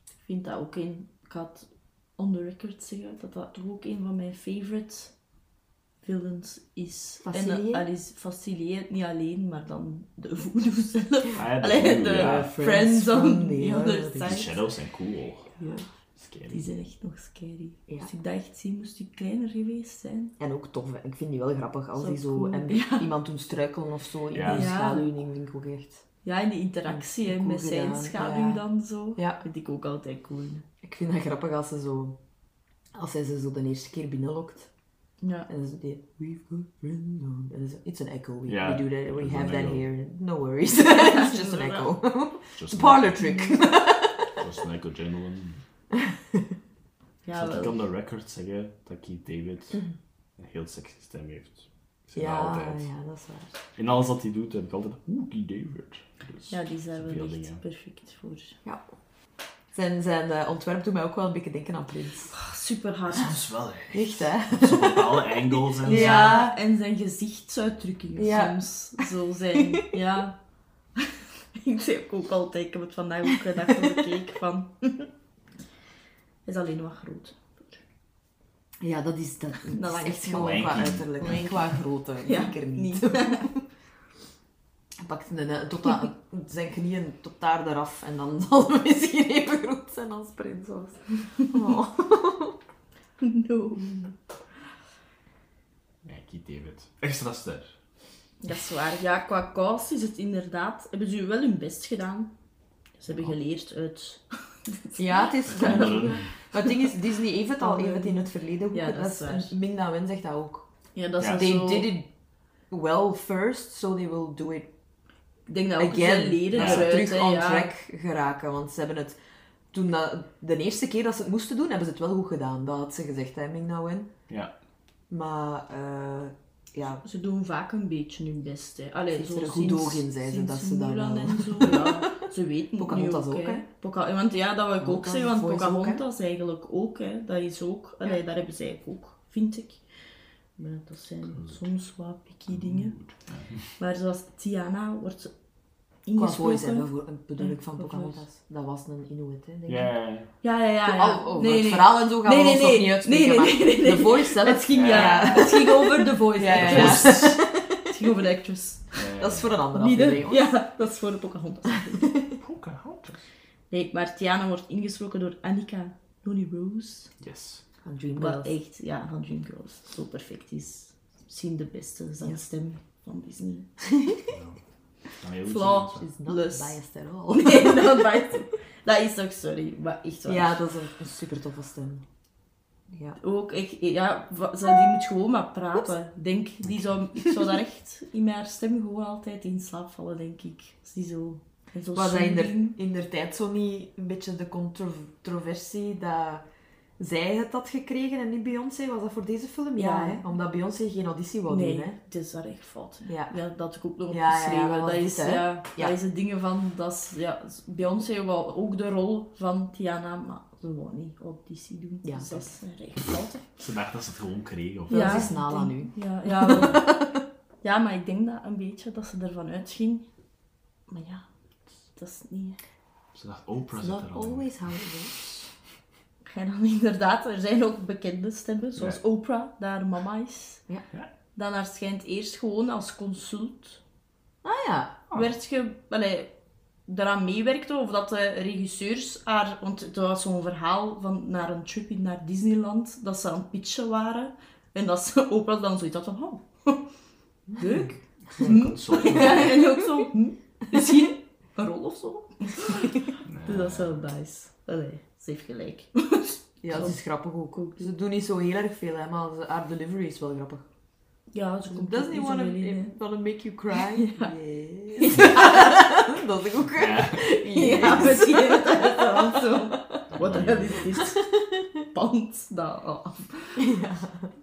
B: Ik vind dat ook een... Ik had on the record zeggen dat dat toch ook een van mijn favorite villains is.
D: Facilier?
B: En eh, al is Facilier niet alleen, maar dan de <laughs> voodoo zelf.
C: Ah ja, de
B: Allee,
C: voodoo,
B: de
C: ja.
B: friends,
D: Friends
B: on the
D: from the
B: other
D: other
C: Die
B: side.
C: shadows zijn cool.
B: Ja, die
C: Scary.
B: zijn echt nog scary.
D: Ja.
B: Als ik dat echt zie, moest ik kleiner geweest zijn.
D: En ook tof, hè. ik vind die wel grappig als
B: Zo
D: die zo
B: cool,
D: en
B: ja.
D: iemand doen struikelen of zo in
C: Ja.
D: die
B: Ja.
D: schaduw. ding vind ik ook echt...
B: Ja, en die interactie hè,
D: Cool
B: met zijn
D: gedaan,
B: schaduw
D: ja.
B: dan zo.
D: Ja.
B: Vind ik ook altijd cool.
D: Ik vind dat grappig als ze zo... Als hij ze zo de eerste keer binnenlokt.
B: Ja.
D: En dan zo die... We've got friends on... En dan zo, It's an echo. We,
C: Ja,
D: we do that.
C: dat
D: We
C: is
D: have
C: een
D: that
C: echo.
D: here. No
C: <laughs>
D: worries. It's just an echo. <laughs> It's a parlor trick.
C: Just like a gentleman.
B: Ja,
C: Zal ik
B: wel. Mhm.
C: on the record zeggen dat Keith David een heel sexy stem heeft? Ik zeg dat
D: Ja,
C: altijd.
D: ja, dat is waar.
C: In alles wat hij doet heb ik altijd, oeh, Keith David. Dus
B: Ja, die zijn
C: veel
B: wel echt
C: dingen.
B: perfect voor.
D: Ja. Zijn, zijn eh, ontwerp doet mij ook wel een beetje denken aan Prins.
B: super hard.
C: Dat is wel echt.
D: Echt, hè?
C: Zo bepaalde angles en zo.
B: Ja, en zijn gezichtsuitdrukkingen
D: Ja.
B: soms. Zo zijn, <laughs> ja. ik zeg ook altijd, ik heb het vandaag ook gedacht toen ik keek van... <laughs> is alleen wat groot.
D: <laughs> Ja, dat is, dat, dat is
B: lijkt
D: echt
B: me
D: gewoon qua
C: lanky.
D: uiterlijk. en Qua grootte, <laughs> zeker niet. Hij pakt een, eh, tot aan, <laughs> zijn knieën tot daar eraf en dan <laughs> zal hij misschien even groot zijn als Prins <laughs> was. Oh.
B: <laughs> no.
C: Ja, Keith David. Extra ster.
B: Dat is waar. Ja, qua cast is het inderdaad... Hebben ze wel hun best gedaan. Ze hebben geleerd uit...
D: Ja, het is...
C: Anderen.
D: Maar het ding is, Disney heeft het al even in het verleden goed
B: Ja, dat
D: gedaan.
B: is waar.
D: En Ming Na Wen zegt dat ook.
B: Ja, dat is
C: Ja.
B: wel
D: They
B: Ah, zo...
D: did it well first, so they will do it
B: Ik denk dat ook ze
D: again.
B: leren
D: Dat
C: Ja.
D: ze
B: eruit,
D: terug
B: hè,
D: on
B: ja.
D: track geraken, want ze hebben het... Toen dat, de eerste keer dat ze het moesten doen, hebben ze het wel goed gedaan. Dat had ze gezegd, hè, Ming Na Wen.
C: Ja.
D: Maar, eh, ja,
B: Ze doen vaak een beetje hun best. Hè. Allee,
D: Ze heeft
B: zo
D: er een goed
B: sinds-
D: oog in, zei ze,
B: sinds
D: dat ze dat
B: Mulan
D: wel-
B: en
D: <laughs>
B: zo, ja. Ze weten
D: Pocahontas
B: nu ook,
D: ook, hè.
B: Poca- eh, want ja, dat wil ik ook
D: Pocahontas,
B: zeggen, want
D: Voice ook, hè.
B: Pocahontas eigenlijk ook. Hè. Dat is ook... Allee, daar hebben zij ook, vind ik. Maar dat zijn soms wat picky dingen. Maar zoals Tiana wordt ze
D: Qua voice
B: ingesproken.
D: hebben voor een bedoel ik van
B: Qua
D: Pocahontas. Dat was een Inuit, hè, denk ik.
C: Ja, ja,
B: Ja, ja, ja. ja.
D: Al- over het Oh, verhaal en zo gaan we ons nog niet uitspreken,
B: Nee, nee,
D: maar
B: nee, nee, nee.
D: de voice zelf-
B: Het ging, ja.
D: Ja.
B: Het ging over de voice
D: Ja, ja, ja.
B: actress. Het ging over de actress.
C: ja.
D: Dat is voor een andere
B: Niet de-
D: aflevering. hoor.
B: ja, dat is voor de Pocahontas.
C: Pocahontas.
B: Nee, maar Tiana wordt ingesproken door Annika Lonnie Rose.
C: Yes.
D: Van Dreamgirls.
B: Wat echt, ja, van Dreamgirls zo perfect is. Misschien de beste zangstem van Disney. <laughs>
C: Dan heel
B: Flaw.
C: goed.
D: She's not
B: Lus.
D: biased at all. <laughs>
B: Nee, dat maakt- Dat is toch sorry, maar echt waar.
D: Ja, dat is een, een super toffe stem. Ja.
B: Ook echt, ja, wa- ze- die moet gewoon maar praten. Ik Denk, die zou, ik zou daar echt in mijn stem gewoon altijd in slaap vallen, denk ik. Als die zo... en zo
D: Was dat in der,
B: zingen.
D: in der tijd zo niet een beetje de controversie dat zij het had gekregen en niet Beyoncé? Was dat voor deze film? Ja,
B: Ja.
D: hè? omdat Beyoncé geen auditie wou
B: Nee,
D: doen. Hè?
B: het is daar echt fout. hè.
D: Ja.
B: Ja, dat ik ook nog op
D: Ja, ja, ja,
B: geschreven.
D: dat
B: dat,
D: was
B: is,
D: het, hè.
B: ja,
D: Ja.
B: dat is het ding van, dat is, ja, Beyoncé wou ook de rol van Tiana, maar ze wou niet auditie doen.
D: Ja,
B: dus dat is echt fout. hè.
C: Ze dacht dat ze het gewoon kregen. Of...
D: Ja. is
B: ik
D: Nala
B: denk- Ja, ja, wel. ja, maar ik denk dat een beetje dat ze ervan uitging. Maar ja, dat is niet...
C: Ze dacht, Oprah
D: It's
C: zit
D: Not
C: er al. in.
D: always how it goes.
B: En dan <laughs> inderdaad, er zijn ook bekende stemmen, zoals
C: Ja.
B: Oprah, dat haar mama is.
D: Ja.
C: Ja.
B: Dan haar schijnt eerst gewoon als consult
D: Ah ja.
B: werd je allee, daaraan meewerkte of dat de regisseurs haar, want het was zo'n verhaal van naar een trip in naar Disneyland dat ze aan het pitchen waren en dat ze <laughs> Oprah dan zoiets had van oh <laughs> leuk <laughs>
C: Sorry.
B: ja, en ook zo hm, misschien een rol of zo dus dat is wel nice allee, ze heeft gelijk
D: Ja, dat is grappig ook. Ze doen niet zo heel erg veel, hè, maar ze- haar delivery is wel grappig.
B: Ja, ze komt
D: Doesn't
B: Dus
D: he
B: niet
D: wanna, eh,
B: zo veel in, hè.
D: wanna make you
B: <laughs>
D: cry? Yes. <laughs> dat is ook...
C: Ja,
D: Yes.
B: Ja, misschien heeft hij het wel zo. Wat de hel is dit? Pand nou, dat af.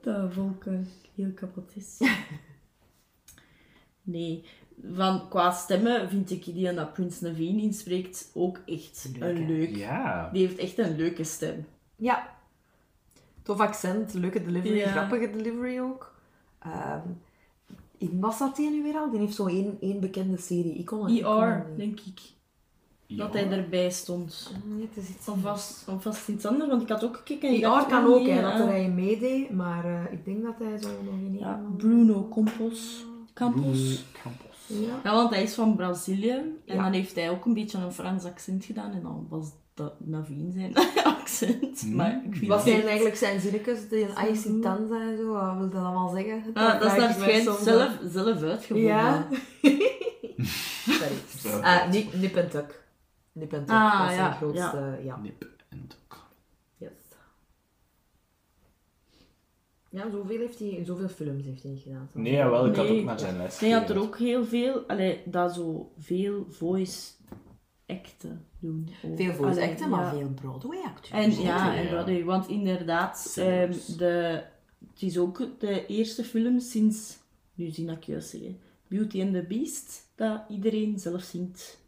B: Dat volk eh, heel kapot is. Nee, van qua stemmen vind ik die dat Prince Naveen inspreekt ook echt
D: Leuk, hè?
B: een leuk.
C: Ja.
B: Die heeft echt een leuke stem.
D: Ja. Tof accent, leuke delivery,
B: Ja.
D: grappige delivery ook. Ehm in, was dat die nu weer al? Die heeft zo één, één bekende serie. Ik
B: Oh,
D: kon het ik kon
B: ER,
D: het niet.
B: E denk ik. Dat hij erbij stond.
D: Nee, het is iets
B: Van vast, van vast iets anders, want ik had ook gekeken. en ik
D: ER
B: dacht,
D: kan
B: oh
D: ook,
B: nee,
D: hè, dat
B: eh,
D: er hij in meedeed. Maar eh, ik denk dat hij zo nog in één...
B: ja, Bruno Campos. Campos.
C: Campos.
D: Ja.
B: Ja, want hij is van Brazilië. En
D: Ja.
B: dan heeft hij ook een beetje een Frans accent gedaan. En dan was dat Naveen zijn <laughs> accent. Maar ik vind
D: Wat
B: het
D: zijn
B: echt-
D: Hmm. eigenlijk zijn zinnetjes? Die een ice in tanza en zo, wat wil dat allemaal zeggen?
B: Ah, dat is
D: vraag
B: naar
D: ik mij
B: schijnt
D: soms af.
B: zelf, zelf uitgevonden.
D: Ja. <laughs> Sorry.
C: Zo.
D: Eh, nip, nip en tuck. Nip en tuck
B: Ah,
D: was zijn
B: ja,
D: grootste... Ja.
C: Nip en tuk.
D: Yes. Ja, zoveel, heeft hij, zoveel films heeft hij niet gedaan. zo.
C: Nee, jawel, ik had
B: Nee.
C: ook naar zijn les
B: Nee, hij had er
C: gekeken.
B: ook heel veel... Allee, dat zo veel voice acten doen. ook.
D: Veel voice
B: Allee,
D: acten, maar
B: ja.
D: veel Broadway-acteurs.
B: En ja, en
C: ja.
B: Broadway, want inderdaad, ehm,
C: Zelfs.
B: de, het is ook de eerste film sinds, nu zie ik juist zeggen, Beauty and the Beast, dat iedereen zelf zingt.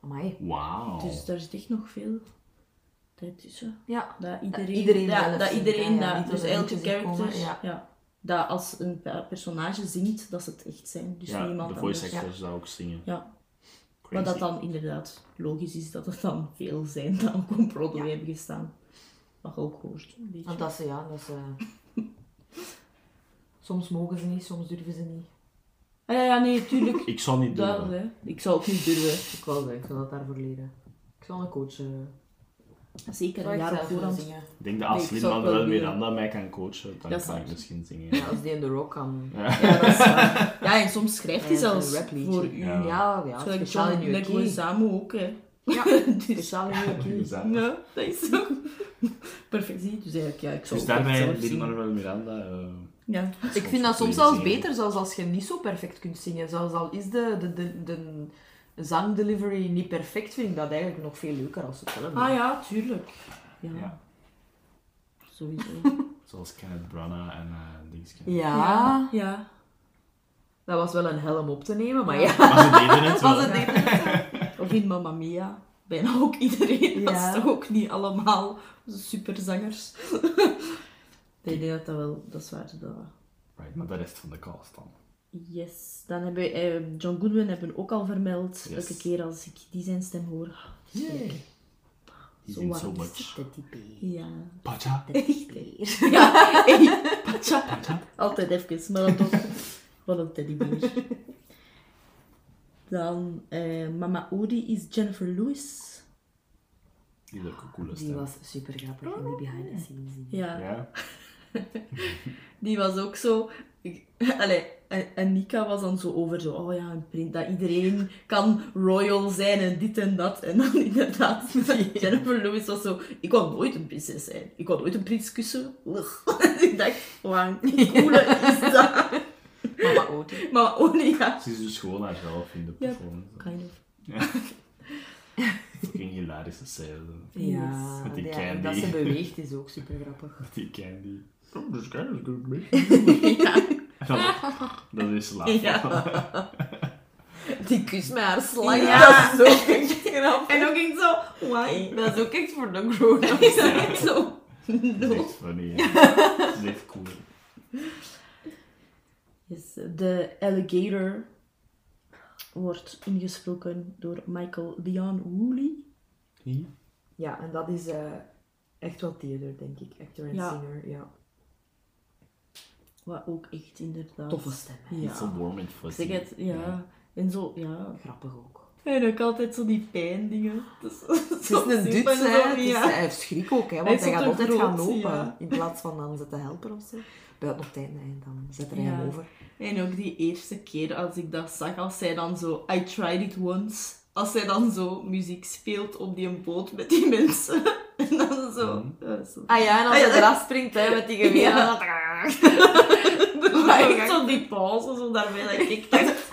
D: Amai.
C: Wauw.
B: Dus daar zit echt nog veel tijd tussen.
D: Ja.
B: Dat iedereen,
D: iedereen
B: ja,
D: zelf
B: dat
D: zingt,
B: iedereen
D: hè, ja,
B: dat,
D: niet
B: dus
D: door de
B: elke
D: liedjes
B: character,
D: komen,
B: ja.
D: ja.
B: dat als een pe- personage zingt, dat ze het echt zijn. Dus
C: ja,
B: niemand
C: de voice
B: anders.
C: actors zou ook zingen.
B: Ja, maar
C: Crazy.
B: dat dan inderdaad logisch is dat het dan veel zijn <laughs> dan ook op Broadway hebben gestaan. Wat je ook hoort, een beetje.
D: Want dat ze, ja, dat ze... <laughs> soms mogen ze niet, soms durven ze niet.
B: Ah, ja, ja, nee,
C: <laughs>
B: tuurlijk.
C: Ik zal niet
B: Dat,
C: doen.
B: hè. Ik zou ook niet durven.
D: Ik wel, ik zal dat daarvoor leren. Ik zal een coach... Uh,
B: Zeker een jaar op voorhand.
D: zingen.
C: Ik denk dat
B: Nee,
C: als
B: ik zou
C: Lin-Manuel
B: het wel doen.
C: Miranda mij kan coachen, dan
B: Dat
C: kan
B: zou-
C: ik misschien zingen.
D: Ja, als die in The Rock kan...
B: Ja, dat is waar. Ja, en soms schrijft hij
D: Ja, zo'n
B: zelfs
D: rapliedje.
B: voor u.
C: Ja.
D: Ja, ja,
B: Zoals
D: speciaal in
B: John
D: je key.
B: Leguizamo ook, hè. <laughs>
D: Ja,
B: Dus,
D: <laughs> speciaal in je key.
B: <laughs>
C: Ja.
B: ja, dat is ook <laughs> perfect. Zie je, Dus eigenlijk, ja, ik zou
C: Dus
B: ook echt
C: daarbij
B: zelf zingen.
C: Lin-Manuel Miranda... eh,
B: Ja.
D: Ik vind dat soms zelfs beter, zelfs als je niet zo perfect kunt zingen. Zelfs al is de, de, de, de zangdelivery niet perfect, vind ik dat eigenlijk nog veel leuker als het zelf
B: Ah ja, tuurlijk. Ja,
C: Ja,
B: sowieso.
C: zoals Kenneth Branagh en eh Dingske.
D: Ja,
B: Ja.
D: dat was wel een helm op te nemen, maar ja.
C: Maar ze deden
B: <laughs>
C: het wel.
D: Was het niet-
B: Of in Mamma Mia. Bijna ook iedereen. Dat
D: Ja.
B: is toch ook niet allemaal superzangers. <laughs> Nee, Ik denk dat dat wel... Dat is waar, dat...
C: Right, maar de rest van de cast dan.
B: Yes, dan hebben we eh, John Goodwin hebben we ook al vermeld.
C: Yes.
B: Elke keer als ik die zijn stem hoor. Ah,
C: Yay. Die
B: Zo
C: zijn
B: warm
C: so
B: is
C: much.
B: Ja.
C: Pacha.
B: ja, hey, patja. Altijd even, maar dan <laughs> toch. Wat een teddybeer. Dan eh, Mama Odi is Jennifer Lewis.
C: Die is ook een coole
D: Die
C: stem.
D: was super grappig in die behind the scenes.
B: Ja,
C: Ja.
B: die was ook zo... ik- <laughs> Allee, en- en Nika was dan zo over zo, oh ja, een print, dat iedereen kan royal zijn en dit en dat. En dan <laughs> inderdaad, Jennifer Lewis was zo, ik wou nooit een prinses zijn. Ik wou nooit een prins kussen. Ugh. <laughs> ik dacht, wauw, <laughs> hoe coole is dat?
D: Mama Otis.
B: Maar oh nee, ja.
C: Ze is dus gewoon haarzelf in de
B: Ja.
C: performance.
B: Kind of.
C: Fucking hilarische scène.
D: Ja,
C: Met die
D: ja,
C: candy.
D: dat ze beweegt is ook super grappig.
C: Met die candy. Oh, dus kijk, dat is goed mee. En dan- <laughs> Dat is laat.
B: Ja.
D: Die kust met haar slang,
B: Ja.
D: dat is ook echt grappig.
B: En ook ging zo, why?
D: Dat is ook echt voor de grown-up.
B: Ik zag het zo.
C: Dat is
B: No.
C: echt funny. hè. Dat is echt cool.
B: Yes, de alligator wordt ingesproken door Michael Dion Woolley.
D: <laughs> Ja, en dat is eh, echt wel theater, denk ik. Actor en
B: Ja.
D: singer, ja.
B: Wat ook echt inderdaad...
D: Toffe stem, hè.
B: Ja.
C: It's so warm and
B: Ik
C: fuzzy.
B: zeg het, ja. En zo, ja.
D: Grappig ook.
B: En ook altijd zo die pijndingen. Dat is, <laughs>
D: Het is een
B: dude
D: duts, hè. Het is- Hij heeft schrik ook, hè.
B: Hij
D: Want
B: is
D: hij,
B: zo
D: gaat
B: te
D: altijd
B: groot,
D: gaan lopen.
B: ja.
D: In plaats van dan ze te helpen of zo. Bij het nog tijd, nee, dan zet hij
B: Ja.
D: hem over.
B: En ook die eerste keer als ik dat zag, als zij dan zo, I tried it once. Als zij dan zo muziek speelt op die boot met die mensen. <laughs> En dan zo. eh, zo.
D: Ah ja,
B: <laughs> Ah
D: en als
B: ja,
D: hij
B: dat-
D: <laughs> eraf springt, hè, met die geweer.
B: Ja.
D: dan-
E: gevraagd.
B: Dat was echt zo <laughs> die pauze, zo daarmee dat <laughs> ik dacht...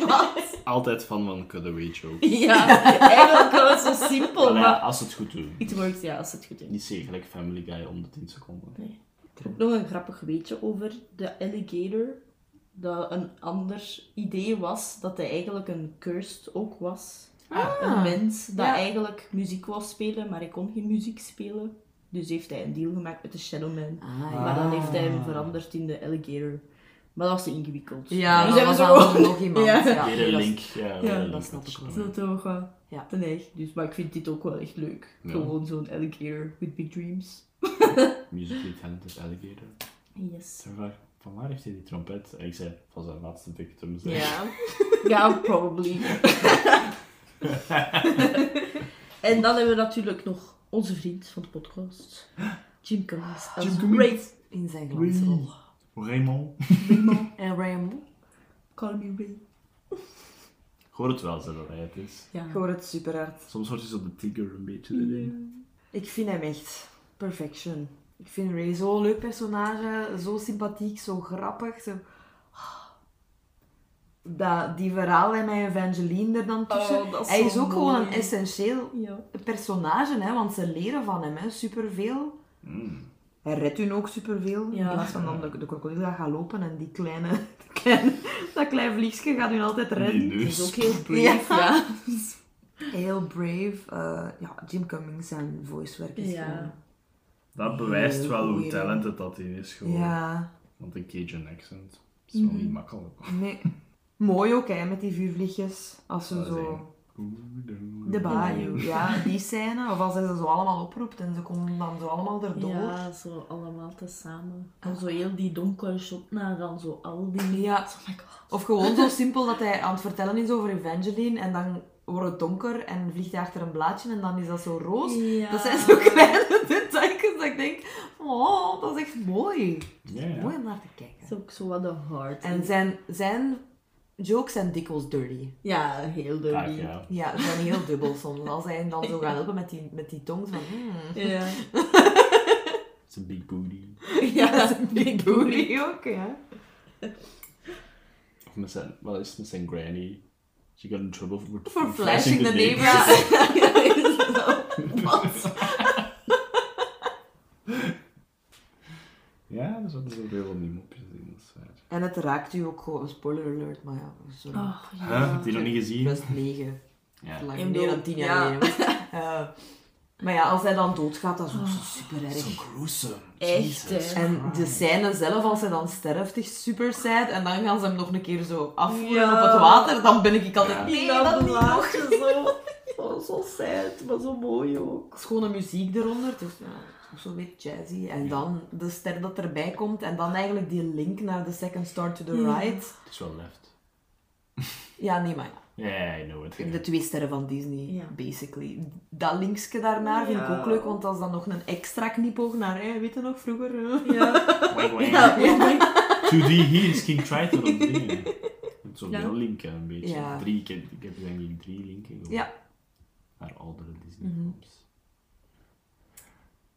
B: Wat?
C: Altijd van van cutaway joke.
B: Ja, eigenlijk wel het zo simpel,
C: Allee,
B: Oh, maar...
C: als ze het goed doen.
B: It works, ja, als het goed is.
C: Niet zeker gelijk Family Guy om de 10 seconden.
B: Ook nog een grappig weetje over de alligator. Dat een ander idee was dat hij eigenlijk een cursed ook was.
D: Ah.
B: Een mens dat
D: ja.
B: eigenlijk muziek wou spelen, maar hij kon geen muziek spelen. Dus heeft hij een deal gemaakt met de Shadowman.
D: Ah, ja.
B: Maar dan heeft hij hem veranderd in de alligator. Maar dat was te ingewikkeld.
D: Ja,
B: dus
D: dat was
B: hebben ze
D: dan
B: gewoon-
D: nog iemand.
B: Ja.
D: Ja.
C: Weer
D: nee,
C: een
D: dat is-
C: link. Ja, weer
B: ja,
C: een
D: dat
C: link
D: snap
C: met
D: ik wel.
C: de
B: Zo toch wel.
D: Ja.
B: Ten echt. Dus, maar ik vind dit ook wel echt leuk.
C: Ja.
B: Gewoon zo'n alligator with big dreams.
C: Musically talented alligator.
B: Yes.
C: Ze vraagt, van waar heeft hij die trompet? En ik zei, van zijn laatste victim. zei <laughs> ik.
B: Ja. ja,
D: <laughs>
B: probably. en dan hebben we natuurlijk nog onze vriend van de podcast. Jim Cummings. als
C: Jim Cummings.
B: Great.
D: In zijn glansrol.
C: Raymond.
D: En Raymond?
B: Call me Ray.
C: Ik hoor het wel, zei dat hij het is.
B: Ja.
D: Ik hoor het super hard.
C: Soms wordt hij zo de tigger een beetje erin.
D: Mm, Ik vind hem echt perfection. Ik vind Ray zo'n leuk personage, zo sympathiek, zo grappig. Zo... Ah. Dat, die verhaallijn met Evangeline er dan tussen.
B: Oh, dat is
D: Hij
B: zo
D: is ook gewoon een
B: mooi.
D: essentieel
B: Ja.
D: personage, hè, want ze leren van hem hè, superveel.
C: Mm.
D: Hij redt hun ook superveel.
B: Ja.
D: In plaats van dan de, de krokodil dat gaat lopen en die kleine, <laughs> die kleine- dat kleine vliegje gaat hun altijd redden.
C: Die
B: Hij is ook
C: neus.
B: heel brave. Ja.
D: Heel brave. eh, ja, Jim Cummings zijn voicewerk is
B: Ja.
D: gewoon-
C: Dat bewijst wel hoe
D: Goeie.
C: talented dat hij is gewoon.
D: Ja. Mhm.
C: Want een Cajun accent is wel niet makkelijk.
D: Nee. Mooi ook, hè, met die vuurvliegjes. Als ze
C: Dat is
D: zo...
C: eng. Oeh,
D: De bayou, ja, die scène. Of als hij ze zo allemaal oproept en ze komen dan zo allemaal erdoor.
B: Ja, zo allemaal tezamen. En zo heel die donkere shot na dan zo al die...
D: Ja.
B: Oh my god.
D: Of gewoon zo simpel dat hij aan het vertellen is over Evangeline en dan wordt het donker en vliegt hij achter een blaadje en dan is dat zo roos.
B: Ja.
D: Dat zijn zo kleine <laughs> details dat ik denk, oh, dat is echt mooi.
C: Ja, ja.
D: Mooi om naar te kijken.
B: Het is ook zo wat de hard.
D: En zijn, zijn jokes zijn dikwijls dirty.
B: Ja, heel
C: Vaak,
B: dirty.
C: ja.
D: Ja, ze zijn heel dubbel soms. Als hij hem dan zo gaat helpen met die, met die tongs van... hmm.
B: Ja.
C: Het is een big booty.
B: <laughs> Ja,
D: Die
B: <laughs>
D: booty ook, ja.
C: Of met zijn, wel is het met zijn granny? She got in trouble for,
D: For flashing the
C: neighbor.
D: neighbor.
C: <laughs> Ja, er zaten zoveel van die mopjes in, dat is waar.
D: En het raakt u ook gewoon, spoiler alert, maar ja, sorry.
B: Oh,
C: Huh?
B: ja.
C: Heb je die nog niet gezien?
D: Best 9.
C: Ja.
D: Lang
B: Ik
D: meer
B: bedoel,
D: dan 10 jaar
B: ja.
D: geleden. <laughs> Eh, maar ja, als hij dan doodgaat, dat is ook Oh, zo super erg.
C: gruesome.
B: Echt, hè.
D: En de scène zelf, als hij dan sterft, is super sad. En dan gaan ze hem nog een keer zo afvoeren
B: Ja.
D: op het water. Dan ben ik altijd...
C: Ja.
D: Nee,
B: In dat
D: dat niet nog.
B: blaadje <laughs> zo. Oh, zo sad, maar zo mooi ook.
D: Schone muziek eronder. Dus ja, ook zo weer jazzy. En dan de ster dat erbij komt. En dan eigenlijk die link naar de second star to the right.
C: Het is wel left.
D: Ja, nee, maar ja.
C: Ja, ja, I know it.
D: De twee sterren van Disney,
B: Ja.
D: basically. Dat linkske daarna vind ik
B: Ja.
D: ook leuk, want dat is dan nog een extra knipoog naar, hè, weet je nog, vroeger? <laughs> hè?
C: <laughs>
B: Ja.
C: Wang, wang.
B: <laughs> Ja, oh ja.
C: 2D hier is King Triton
B: <laughs>
C: op dingen. Het is ook
B: Ja.
C: wel linken, een beetje.
D: Ja.
C: Drie, ik, heb, ik heb denk ik drie linken. gewoon
D: Ja.
C: Naar oudere
B: Mhm.
C: Disney-films.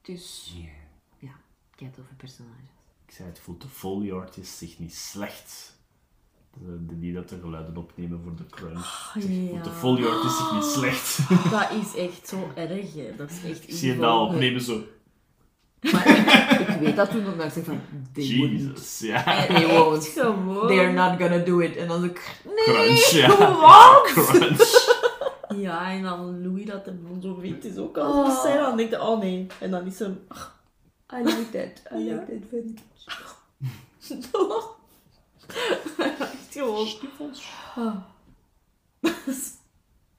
D: Dus, ja, ik heb het over personages.
C: Ik zei, het voelt de Foley artist zich niet slecht. De, de- die dat de geluiden opnemen voor de crunch. Voelt de Foley artist zich niet
D: <laughs>
C: slecht.
B: Oh,
C: <laughs>
B: Dat is echt zo erg, hè. Dat is echt
C: Ik zie het al
B: evil.
C: opnemen zo.
D: <laughs> Maar ik, ik weet dat toen omdat ik zeg van, they wouldn't.
C: Jesus,
D: <laughs>
C: ja.
D: They won't.
B: Echt gewoon.
D: They are not gonna do it. En dan zo, krrr,
C: Crunch, ja. <laughs> Crunch.
B: Ja, en dan Louis dat hem gewoon zo wit is ook al zo sad. Dan denk je, oh nee. En dan is hem... ah, I like that. I like that <laughs> vintage. Echt gewoon. Ah.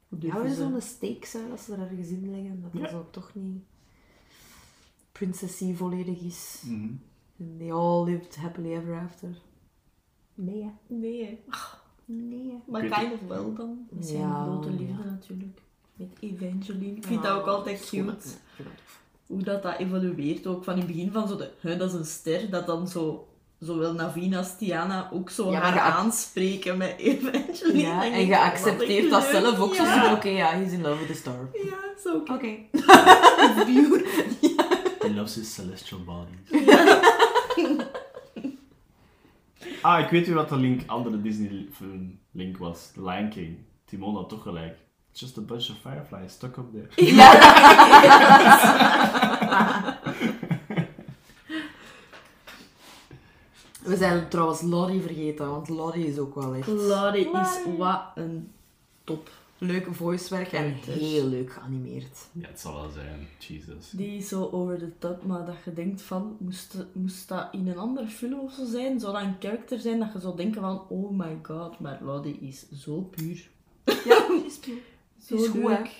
B: Hoe durven
D: Houden
B: ze?
D: ze zo'n steek zou als ze er ergens in leggen? Dat dat ook toch niet prinsessie volledig is. And they all lived happily ever after. Nee, hè.
B: Nee, hè. Ach,
D: nee. hè.
B: maar
C: Ik weet
B: kind of wel dan. Met zijn
D: Ja,
B: grote liefde
D: ja.
B: natuurlijk. Met Evangeline. Ik vind dat ook altijd
D: Schoon,
B: cute.
D: ja, ik vind dat tof.
B: Hoe dat, dat evolueert ook. Van in het begin van zo de, hè, dat is een ster, dat dan zo... Zowel Navina als Tiana ook zo
D: Ja, maar
B: haar
D: geac-
B: aanspreken met <laughs> Evangeline. Dan
D: Ja,
B: denk
D: en
B: ik,
D: je
B: wat
D: accepteert
B: een
D: dat
B: leuk-
D: zelf ook. zo
B: Ja,
D: van, Oké, ja, he's in love with the star.
B: ja zo cute.
D: Oké.
C: He loves his celestial bodies. <laughs> Ah, ik weet weer wat de link, andere Disney-film link was. The Lion King. Timon had toch gelijk. It's just a bunch of fireflies stuck up there.
D: <laughs> We zijn trouwens Lottie vergeten, want Lottie is ook wel echt
B: Claudia is wat een top.
D: leuk voicewerk en
B: Character.
D: heel leuk geanimeerd.
C: Ja, het zal wel zijn. Jesus.
B: Die is zo over de top, maar dat je denkt van, moest, moest dat in een andere film of zo zijn? Zou dat een karakter zijn dat je zou denken van, oh my god, maar Lottie is zo puur. <laughs>
D: Ja, is
B: Zo
D: Is goed,
B: leuk.
D: hè?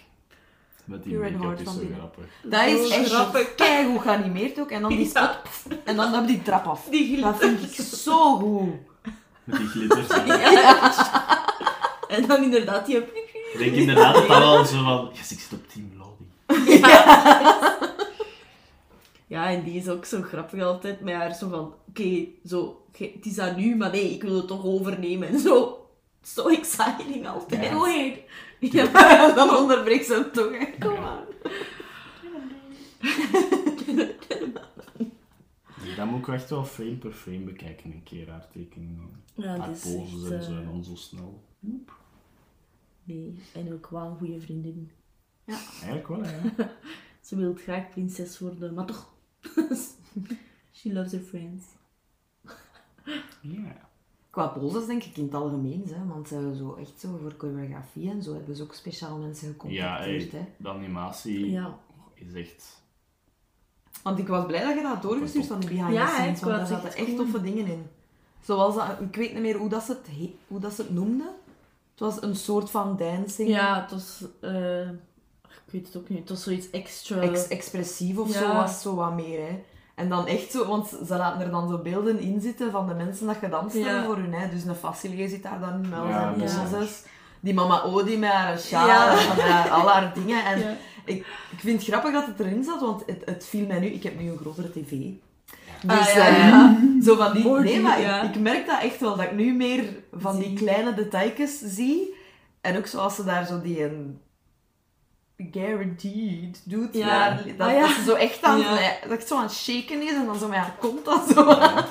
C: Met die
D: Pure and
C: make-up
D: hard
C: is
D: van
C: zo
D: binnen.
C: grappig.
D: Dat is
B: Zo
D: echt grappig. Kijk, geanimeerd ook. En dan die spot. pff, En dan op die trap af.
B: Die gil-
D: Dat vind ik zo goed. <laughs>
C: Met die glitters. en-
B: En dan inderdaad die...
C: Ik denk inderdaad dat dat wel zo van... Yes, ik zit op Team Lottie.
B: Ja, en die is ook zo grappig altijd met haar zo van, oké, zo, ge- het is aan nu, maar nee, ik wil het toch overnemen. En zo, so exciting altijd.
C: Ja.
B: Go ahead. Ja.
D: Dan onderbreekt ze hem toch. hè. Kom maar.
C: Nee, dat Dus moet ik echt wel frame per frame bekijken. Een keer haar tekeningen.
B: Ja,
C: haar
B: dat is
C: poses
B: echt,
C: en zo.
B: eh,
C: En dan zo snel. Oep.
B: Nee, en ook wel een goede vriendin.
C: Eigenlijk wel,
B: <laughs>
C: hè.
B: Ze wil graag prinses worden, maar toch. <laughs> She loves her friends.
C: Ja.
D: Qua poses denk ik in het algemeen, hè, want eh, zo echt zo voor choreografie en zo hebben ze ook speciaal mensen
C: Ja,
D: gecontacteerd. hè.
C: hey, de animatie
B: Ja.
C: is echt...
D: Want ik was blij dat je dat had doorgestuurd van de behind
B: Ja,
D: the
B: hè,
D: scenes,
B: ik wou
D: want daar
B: het
D: zaten
B: zeggen,
D: echt
B: cool.
D: toffe dingen in. Zoals dat, ik weet niet meer hoe dat ze het, he- hoe dat ze het noemden. Het was een soort van dancing,
B: Ja, het was. eh, ik weet het ook niet. Het was zoiets extra.
D: ex- expressief of zo,
B: Ja.
D: was zo wat meer. Hè. En dan echt zo, want ze laten er dan zo beelden in zitten van de mensen dat gedanst
B: Ja.
D: hebben voor hun. Hè. Dus een Facilier zit daar dan met al
C: Ja,
D: zijn
B: dat is
D: poses. Die mama Odi met haar sjaal
B: Ja.
D: en met haar, al haar dingen. En
B: Ja.
D: Ik, ik vind het grappig dat het erin zat, want het, het viel mij nu... Ik heb nu een grotere tv. Dus
B: Ah, ja,
D: eh,
B: ja.
D: <laughs> zo van die...
B: Voor
D: Nee,
B: die,
D: maar
B: ja.
D: ik, ik merk dat echt wel, dat ik nu meer van die
B: Zie.
D: kleine detailjes zie. En ook zoals ze daar zo die een... Guaranteed doet.
B: Ja.
D: daar, dat,
B: Ah, ja.
D: dat ze zo echt aan,
B: Ja.
D: dat ik zo aan het shaken is en dan zo met haar kont dat zo aan.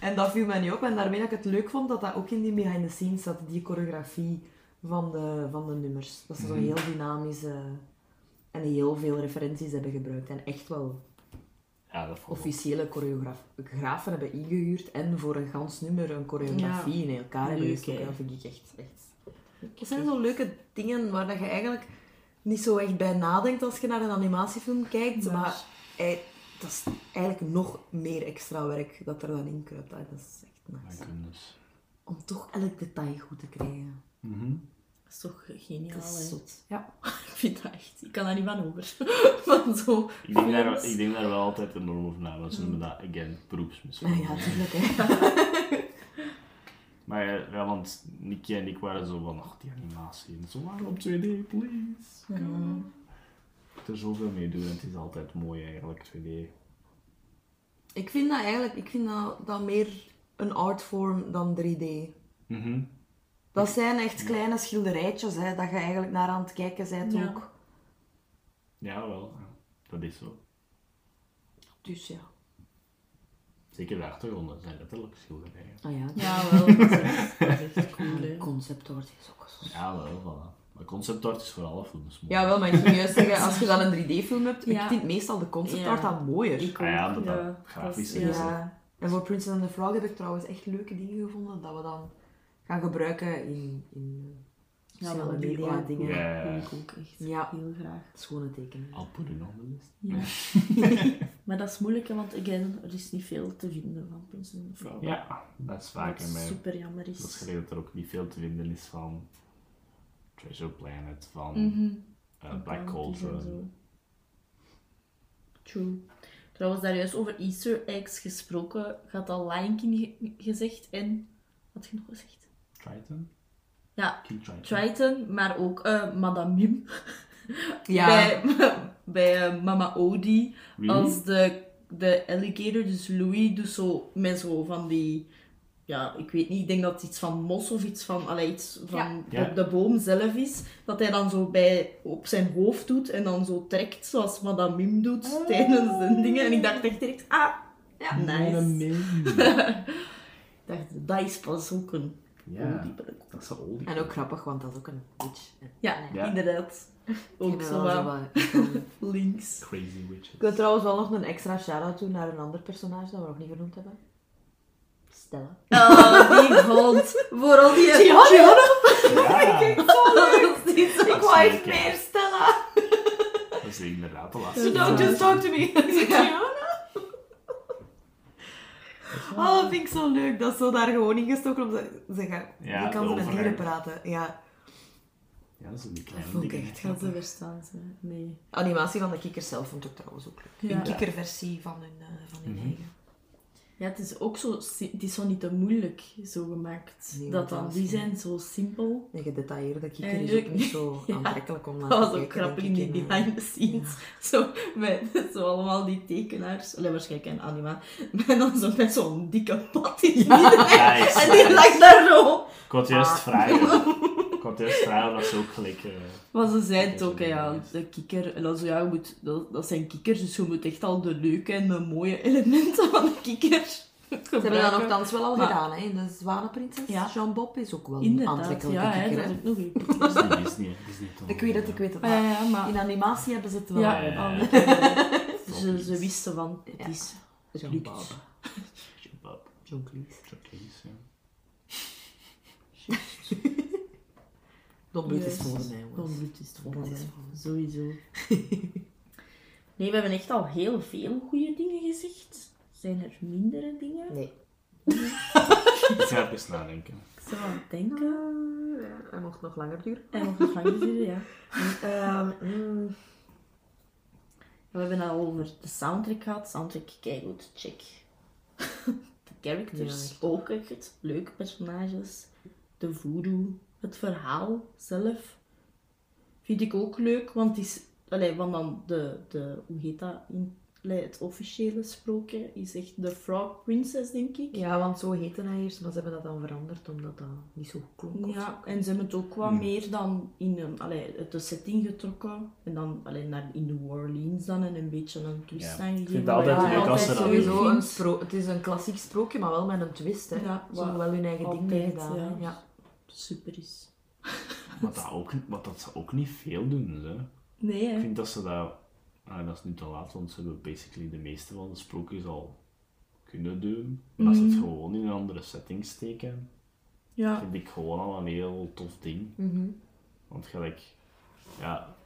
D: En dat viel mij niet op. En daarmee dat ik het leuk vond dat dat ook in die behind the scenes zat, die choreografie van de, van de nummers. Dat ze zo
C: Mhm.
D: heel dynamisch eh, en heel veel referenties hebben gebruikt. En echt wel
C: Ja, dat vond ik
D: officiële choreografen hebben ingehuurd en voor een gans nummer een choreografie in elkaar hebben
B: Leuk,
D: gestoken.
B: hè?
D: Dat vind ik echt... echt... Dat zijn zo leuke dingen waar dat je eigenlijk niet zo echt bij nadenkt als je naar een animatiefilm kijkt,
B: Maar-
D: maar ei- dat is eigenlijk nog meer extra werk dat er dan in kruipt. Ah, Dat is echt
C: My
D: nice.
C: goodness.
D: Om toch elk detail goed te krijgen.
B: Dat is toch geniaal,
D: Dat
B: hè?
D: is zot. Ja.
B: Ik vind dat echt. Ik kan daar niet van over. <laughs> Van zo.
C: Ik denk, daar,
B: films.
C: ik denk daar wel altijd enorm over na, want ze
B: Mm.
C: noemen dat, again,
D: Ah
C: beroepsmisvorming.
D: ja, tuurlijk hè.
C: Maar eh, ja, want Nicky en ik waren zo van, ach, die animatie. En zo, maar op 2D, please. Come on." Ik moet er zoveel mee doen en het is altijd mooi eigenlijk, 2D.
D: <laughs> Ik vind dat eigenlijk ik vind dat, dat meer een artform dan 3D.
C: Mhm.
D: Dat zijn echt kleine schilderijtjes hè, dat je eigenlijk naar aan het kijken bent
B: Ja.
D: ook.
C: Ja, wel. ja. Dat is zo.
D: Dus ja.
C: Zeker de achtergronden zijn letterlijk schilderijen.
D: Ah ja,
B: Ja, wel. Dat is echt, dat is echt cool, hè.
D: conceptort is ook zo.
C: Ja, wel, voilà. Maar concept art is voor alle films mooi.
D: Ja, wel, maar ik ging juist zeggen, als je dan een 3D-film hebt,
B: Ja.
D: ik vind meestal de conceptart
B: Ja.
D: dan mooier.
B: Ik
C: Ah ja,
B: ook,
C: dat dat
B: ja. Dat
C: grafisch
B: is-
C: is.
B: ja.
D: Ja. En voor Princess and the Frog heb ik trouwens echt leuke dingen gevonden dat we dan gaan gebruiken in, in eh,
B: Ja,
D: sociale
B: wel, die
D: media
B: art
D: dingen.
C: Ja.
B: Vind ik ook echt.
D: Ja.
B: Heel graag.
D: Schone tekenen.
C: Al poeder nog wel eens.
B: Ja. maar dat is moeilijk, hè, want again, er is niet veel te vinden van Prinses en Vrouw.
C: Ja, dat is vaak in
B: Wat
C: mijn...
B: super jammer is.
C: Dat is gelijk dat er ook niet veel te vinden is van Treasure Planet, van
B: Mhm.
C: eh, Black
B: Bounties en
C: Cauldron.
B: zo. True. Trouwens, daar juist over Easter eggs gesproken. Gaat al Lion King ge- gezegd en... Wat had je nog gezegd?
C: Triton?
B: Ja,
C: King Triton.
B: Triton, maar ook eh, Madame Mim.
D: Ja.
B: Bij, <laughs> bij eh, Mama Odie.
C: Really?
B: Als de, de alligator, dus Louis, doet zo met zo van die... Ja, ik weet niet, ik denk dat het iets van mos of iets van, allee, iets van
C: Ja.
B: op de boom zelf is. Dat hij dan zo bij, op zijn hoofd doet en dan zo trekt, zoals Madame Mim doet tijdens zijn dingen. En ik dacht echt direct, ah, ja, nice.
C: Madame Mim.
B: dacht, dat is pas ook een
C: Ja,
B: diepere kop.
C: dat is een oldie.
D: En ook grappig, want dat is ook een witch. Ik
B: Ja,
C: Ja.
B: inderdaad. Ook
D: vind dat
B: zo
D: wel zo
B: wat <laughs>
D: wat-
B: links.
C: Crazy witches.
D: Ik wil trouwens wel nog een extra shout-out doen naar een ander personage dat we nog niet genoemd hebben. Stella.
B: Oh, die hond. Vooral die...
D: Gianna!
C: Ja,
D: Ik
C: wou
D: wou
C: echt
D: echt
C: Zeker. meer
D: meer Stella!
C: dat is inderdaad de laatste.
D: You don't just talk <laughs> to me. Gianna? Oh, dat vind ik zo leuk. Dat is zo daar gewoon ingestoken om ze, ze gaan,
C: Ja,
D: die
C: de
D: kan ze met dieren
C: overgang.
D: praten. Ja,
C: Ja, dat is een
D: dat
C: kleine
D: vond
B: <laughs>
D: ik
C: ding.
D: echt
B: Gaat ze
D: grappig.
B: verstaan ze? Nee.
D: Animatie van de kikker zelf vond ik trouwens ook leuk.
B: Ja.
D: Een kikkerversie van hun, eh, van hun
C: Mhm.
D: eigen.
B: Ja, het is ook zo... si- Het is zo niet te moeilijk zo gemaakt.
D: Nee,
B: dat
D: dat
B: dan,
D: is
B: die
D: niet.
B: zijn zo simpel.
D: Een gedetailleerde kikker
B: En
D: is
B: leuk.
D: ook niet
B: <laughs>
D: zo
B: Ja.
D: aantrekkelijk om naar te
B: Dat
D: kijken.
B: was ook grappig in
D: denk ik,
B: die
D: in, eh,
B: behind the scenes. Zo, met <laughs> zo allemaal die tekenaars. Allee, waarschijnlijk een anima. Maar dan zo met zo'n dikke pad in het midden.
D: <laughs>
C: Nice.
B: En die lag daar zo.
C: Ik wou het juist
D: Ah.
C: vragen.
D: <laughs>
C: Ik wou het juist vragen of dat ze ook gelijk... eh,
B: Maar ze zei het
C: Dat is
B: ook, hè, ja,
C: nice.
B: de kikker. En dan zo, ja, je moet, dat, dat zijn kikkers, dus je moet echt al de leuke en de mooie elementen van de kikker
D: Ze hebben dat
B: gebruiken.
D: nogthans wel al
B: Maar-
D: gedaan, hè? In de Zwanenprinses.
B: Ja.
D: Jean Bob is ook wel een
B: Inderdaad,
D: aantrekkelijke
B: ja, hè,
D: kikker.
B: dat is
D: hè.
B: ook nog een
D: <laughs>
C: dat is niet Disney, hè. Disney eh, toch?
D: Ik weet het, ik weet het.
B: Ah, ja, ja, Oh, maar...
D: In animatie hebben ze het wel.
B: Ja,
C: Ja, ja, ja.
B: al die- <laughs> ze, ze
C: Fokkies.
B: wisten van,
D: Ja.
B: het is...
D: Jean
B: Lucas.
D: Bob.
C: Jabab,
D: John Cleese.
C: jabbies, ja.
D: Don Bluth
B: Yes.
D: is volgens mij, jongens.
B: Dan bloed is Oh, het
D: Dat is
B: volgende.
D: volgens
B: Sowieso. <laughs> nee, we hebben echt al heel veel goede dingen gezegd. Zijn er mindere dingen?
D: Nee.
C: Ik ga even nadenken.
B: Ik zou aan het denken.
D: Ja, Eh, hij mocht nog langer duren.
B: En nog gevangen zitten, ja. Ehm, mm. we hebben het al over de soundtrack gehad. Soundtrack, keigoed, check. de characters,
D: Ja, echt.
B: ook echt leuke personages. De voodoo, het verhaal zelf. Vind ik ook leuk, want, het is, allee, want dan de, de, hoe heet dat, in, allee, het officiële sprookje is echt de Frog Princess, denk ik.
D: Ja, want zo heette hij eerst, maar ze hebben dat dan veranderd omdat dat niet zo goed klonk. of zo.
B: Ja, en ze hebben het ook
C: Hmm.
B: wat meer dan in een, allee, uit de setting getrokken. En dan allee, naar in New Orleans dan en een beetje een twist
C: Ja.
B: aan
C: Ik
B: gegeven.
C: vind dat altijd
B: wat ik
D: leuk
B: altijd
D: als
C: ze dat
B: leuk
D: Sowieso
B: vind.
D: een spro- het is een klassiek sprookje, maar wel met een twist. Hè.
B: Ja,
D: ze hebben
B: wat
D: wel hun eigen ding mee
B: altijd,
D: gedaan. hè.
B: ja.
D: Ja.
B: Super is.
C: Wat, dat ook, wat dat ze ook niet veel doen, hè.
B: Nee,
C: Ik
B: hè.
C: vind dat ze dat... Ah, dat is nu te laat, want ze hebben basically de meeste van de sprookjes al kunnen doen. Maar als ze
D: Mm.
C: het gewoon in een andere setting steken,
B: Ja. Mhm.
C: vind ik gewoon al een heel tof ding. Want gelijk, ja,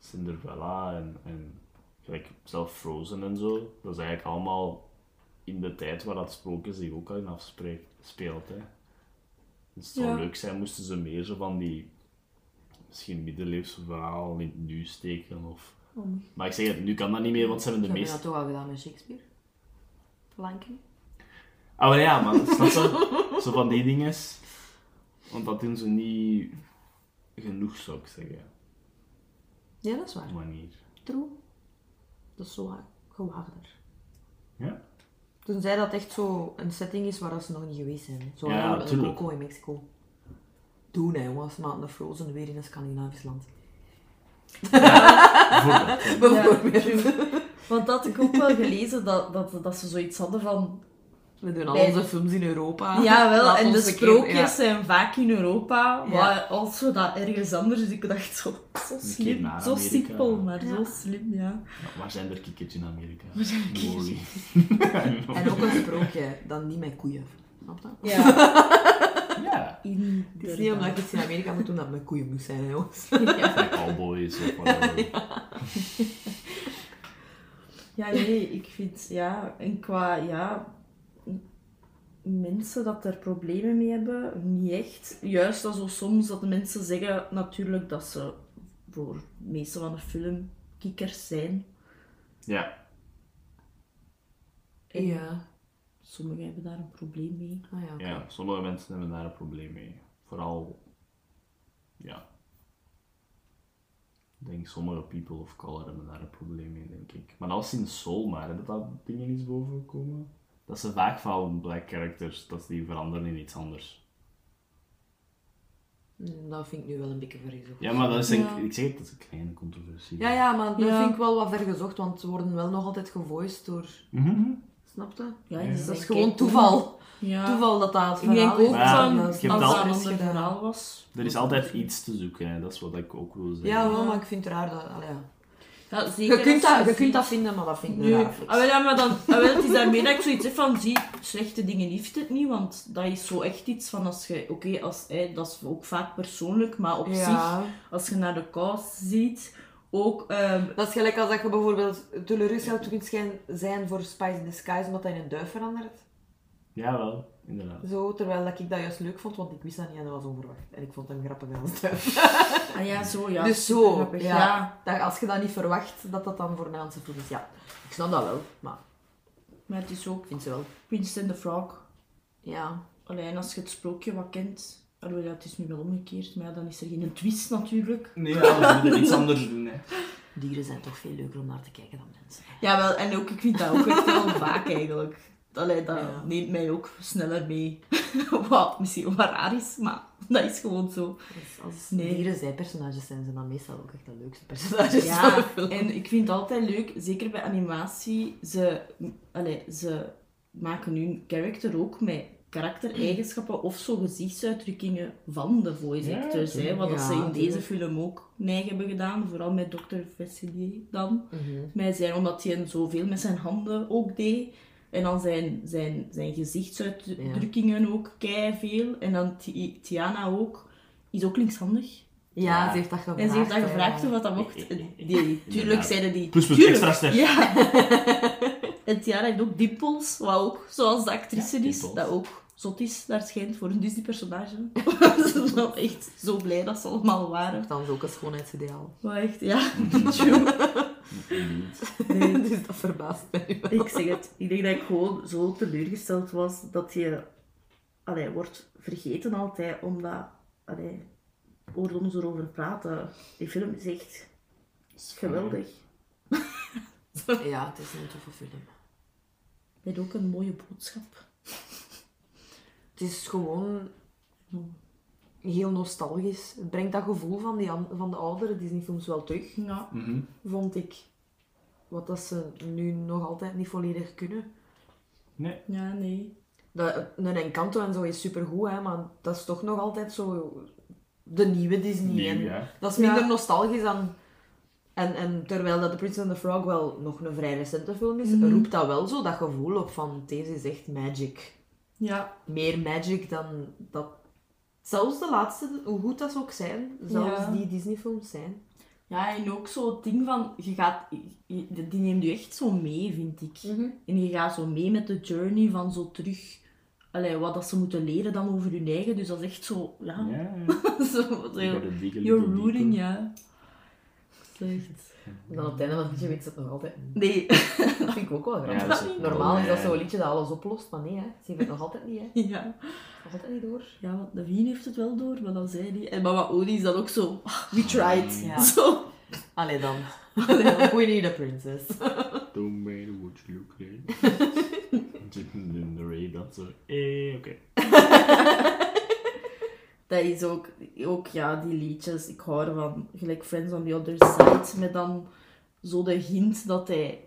C: Cinderella en, en gelijk zelf Frozen en zo, dat is eigenlijk allemaal in de tijd waar dat sprookje zich ook al in afspeelt. Hè. Dus het zou
B: Ja.
C: leuk zijn moesten ze meer zo van die misschien middeleeuwse verhalen in het nu steken. Of...
B: Om-
C: Maar ik zeg het, nu kan dat niet meer, want ze hebben
D: Ze
C: de
D: hebben
C: meeste...
D: dat toch al gedaan met Shakespeare? Planking?
C: Ah, maar ja, man. Snap je? Zo van die dingen. Want dat doen ze niet genoeg, zou ik zeggen.
D: Ja, dat is waar.
C: Op een manier.
D: True. Dat is zo gewaagder.
C: Ja?
D: Toen zei dat echt zo een setting is waar dat ze nog niet geweest zijn. hè. Zo
C: Ja,
D: ja, een
C: tuurlijk.
D: Coco in Mexico. Doen hè jongens, maar een Frozen weer in een Scandinavisch land. <laughs>
C: Bijvoorbeeld. ja.
D: Bijvoorbeeld.
B: Want dat had ik ook wel gelezen, dat, dat, dat ze zoiets hadden <laughs> van...
D: We doen al
B: Bij-
D: onze films in Europa.
B: Jawel,
D: Laat
B: en de
D: ons een keer-
B: sprookjes
D: ja.
B: zijn vaak in Europa,
D: Ja.
B: maar als we dat ergens anders... Dus ik dacht zo, zo slim,
C: naar
B: zo
C: Amerika.
B: simpel, maar
D: Ja.
B: zo slim, ja.
C: Ja, Waar zijn er kikkers in Amerika? Waar zijn
D: En ook een sprookje, dan niet met koeien. Snap dat?
B: Ja. <laughs>
C: <laughs> Ja.
D: Het is niet omdat ik iets in Amerika moet doen dat het met koeien moet zijn, hè, jongens.
C: Like cowboys of <laughs> whatever.
B: Ja, nee, ik vind, ja, en qua, ja, m- mensen dat er problemen mee hebben, niet echt. Juist als zo soms dat de mensen zeggen, natuurlijk, dat ze voor de meeste van de film kikkers zijn.
C: Ja.
B: En
D: Ja.
B: Sommigen hebben daar een probleem mee.
D: Ah, ja.
C: ja, sommige mensen hebben daar een probleem mee. Vooral, ja. Ik denk sommige people of color hebben daar een probleem mee, denk ik. Maar als in Soul maar, hè, dat dat dingen is bovengekomen. Dat ze vaak van black characters, dat ze die veranderen in iets anders.
D: Mm, Dat vind ik nu wel een beetje vergezocht.
C: Ja, maar dat is een,
B: Ja.
C: ik zeg het, dat is een kleine controversie.
D: Ja, ja, maar dat
B: Ja.
D: vind ik wel wat vergezocht, want ze worden wel nog altijd gevoiced door...
C: Mhm.
D: Snap je?
B: Ja,
C: Ja.
B: die
D: Dus dat
B: zijn
D: is gewoon
B: keicool.
D: toeval.
B: Ja.
D: Toeval dat dat het
B: Ik denk
D: verhaal
B: ook
D: is.
C: Maar ja,
B: van,
C: ik
B: als
C: heb
B: dat
C: al-
B: een
D: is
B: ander
D: gedaan.
B: verhaal was.
C: Er is altijd iets te zoeken, hè. dat is wat ik ook wil zeggen.
D: Ja, wel, maar ik vind het raar dat... allee, ja.
B: Ja, zeker
D: je, kunt
B: als
D: dat, je kunt
B: ziet-
D: dat vinden, maar dat vind ik
B: Nu,
D: een
B: ah,
D: raar.
B: wel, ja, maar dan, ah, wel, het is daarmee dat ik zoiets heb van, zie, slechte dingen heeft het niet, want dat is zo echt iets van als je, oké, als, eh, dat is ook vaak persoonlijk, maar op zich,
D: Ja.
B: als je naar de kous ziet, ook, ehm,
D: Dat is gelijk als dat je bijvoorbeeld teleurgesteld kunt schijn- zijn voor Spice in the Skies omdat hij in een duif verandert.
C: Jawel, inderdaad.
D: Zo, terwijl dat ik dat juist leuk vond, want ik wist dat niet en dat was onverwacht. En ik vond hem grappig als duif.
B: ah ja, zo, ja.
D: dus zo,
B: Grappig,
D: ja.
B: ja.
D: Dat, als je dat niet verwacht, dat dat dan voor Nederlandse voet is. Ja, ik snap dat wel, maar
B: Maar het is ook
D: ik vind ze wel.
B: Prince and the Frog.
D: Ja,
B: Alleen als je het sprookje wat kent, alhoewel ja, het is nu wel omgekeerd, maar ja, dan is er geen twist natuurlijk.
C: Nee, ja, we moeten iets anders doen. Hè.
D: dieren zijn toch veel leuker om naar te kijken dan mensen.
B: Jawel, en ook, ik vind dat ook echt
D: <laughs>
B: wel vaak eigenlijk. Allee, dat
D: Ja.
B: neemt mij ook sneller mee. <laughs> Wat misschien wel raar is, maar dat is gewoon zo.
D: Als, Dus als
B: Nee.
D: dieren zijpersonages zijn, zijn dan meestal ook echt de leukste personages van de
B: Ja,
D: film.
B: en ik vind het altijd leuk, zeker bij animatie, ze, allee, ze maken hun character ook met karaktereigenschappen of zo gezichtsuitdrukkingen van de voice
C: Ja,
B: actors. hè, wat dat
D: Ja,
B: ze in deze
D: tuurlijk.
B: film ook neig hebben gedaan, vooral met Dr. Facilier dan.
D: Mhm.
B: mij zijn, omdat hij zoveel met zijn handen ook deed. En dan zijn, zijn, zijn gezichtsuitdrukkingen ook kei veel. En dan Ti- Tiana ook, is ook linkshandig.
D: Ja,
C: Ja.
D: ze heeft dat gevraagd.
B: En ze heeft dan
D: hè,
B: gevraagd
D: ja.
B: of wat dat mocht. Die, tuurlijk
C: eh, Inderdaad.
B: zeiden die.
C: Pluspunt
B: tuurlijk,
C: extra ster. <laughs>
B: Ja. en Tiana heeft ook dimpels, wat ook, zoals de actrice
C: Ja,
B: is,
C: dimpels.
B: dat ook zot is, daar schijnt, voor een Disney-personage. <laughs> Ze was wel echt zo blij dat ze allemaal waren.
D: Dan is ook een schoonheidsideaal.
B: Maar echt,
C: <laughs>
B: ja.
C: Inderdaad.
B: Nee.
D: <laughs> dus dat verbaast mij nu wel.
B: Ik zeg het, ik denk dat ik gewoon zo teleurgesteld was dat je allee, wordt vergeten altijd, omdat, allee, hoorde ons erover praten. Die film is echt geweldig.
D: Ja, het is een toffe film.
B: Met ook een mooie boodschap.
D: Het is gewoon heel nostalgisch. Het brengt dat gevoel van, die, an- van de oudere Disney-films wel terug,
B: Ja.
C: Mhm.
D: vond ik. Wat dat ze nu nog altijd niet volledig kunnen.
C: Nee,
B: Ja, nee.
D: Dat, een Encanto en zo is supergoed, hè, maar dat is toch nog altijd zo de nieuwe Disney.
C: nieuw,
D: en
C: ja.
D: Dat is minder
B: Ja.
D: nostalgisch dan... En, en terwijl dat The Prince and the Frog wel nog een vrij recente film is,
B: Mhm.
D: roept dat wel zo dat gevoel op van deze is echt magic.
B: Ja.
D: meer magic dan dat. Zelfs de laatste, hoe goed dat ze ook zijn, zelfs
B: Ja.
D: die Disney-films zijn.
B: Ja, en ook zo het ding van, je gaat, je- die neemt je echt zo mee, vind ik.
C: Mhm.
B: En je gaat zo mee met de journey van zo terug, allee, wat dat ze moeten leren dan over hun eigen. Dus dat is echt zo,
C: Ja,
B: ja,
C: ja.
B: <laughs> zo, zo
C: You gotta dig a
B: You're
C: little
B: rooting,
C: deeper.
B: ja. Slecht.
D: En dan op het einde van het liedje weet ze het nog altijd.
B: Nee.
D: Dat vind ik ook wel grappig.
C: Ja, dat is Oh, ook
D: Normaal is dat
C: wel,
D: zo'n
C: ja.
D: liedje dat alles oplost, maar nee, hè. ze heeft het nog altijd niet. Hè.
B: <laughs> Ja.
D: Nog altijd niet door.
B: ja, want Naveen heeft het wel door, maar dan zij niet. En mama Oni is dan ook zo, "Ah, we tried. <laughs>
D: Ja.
B: Zo.
D: Allee dan. We need a princess.
C: Don't matter what you look like. Zit in de Ray dat zo. Eh, oké.
B: Dat is ook, ook, ja, die liedjes. Ik hou ervan. Gelijk Friends on the Other Side. Met dan zo de hint dat hij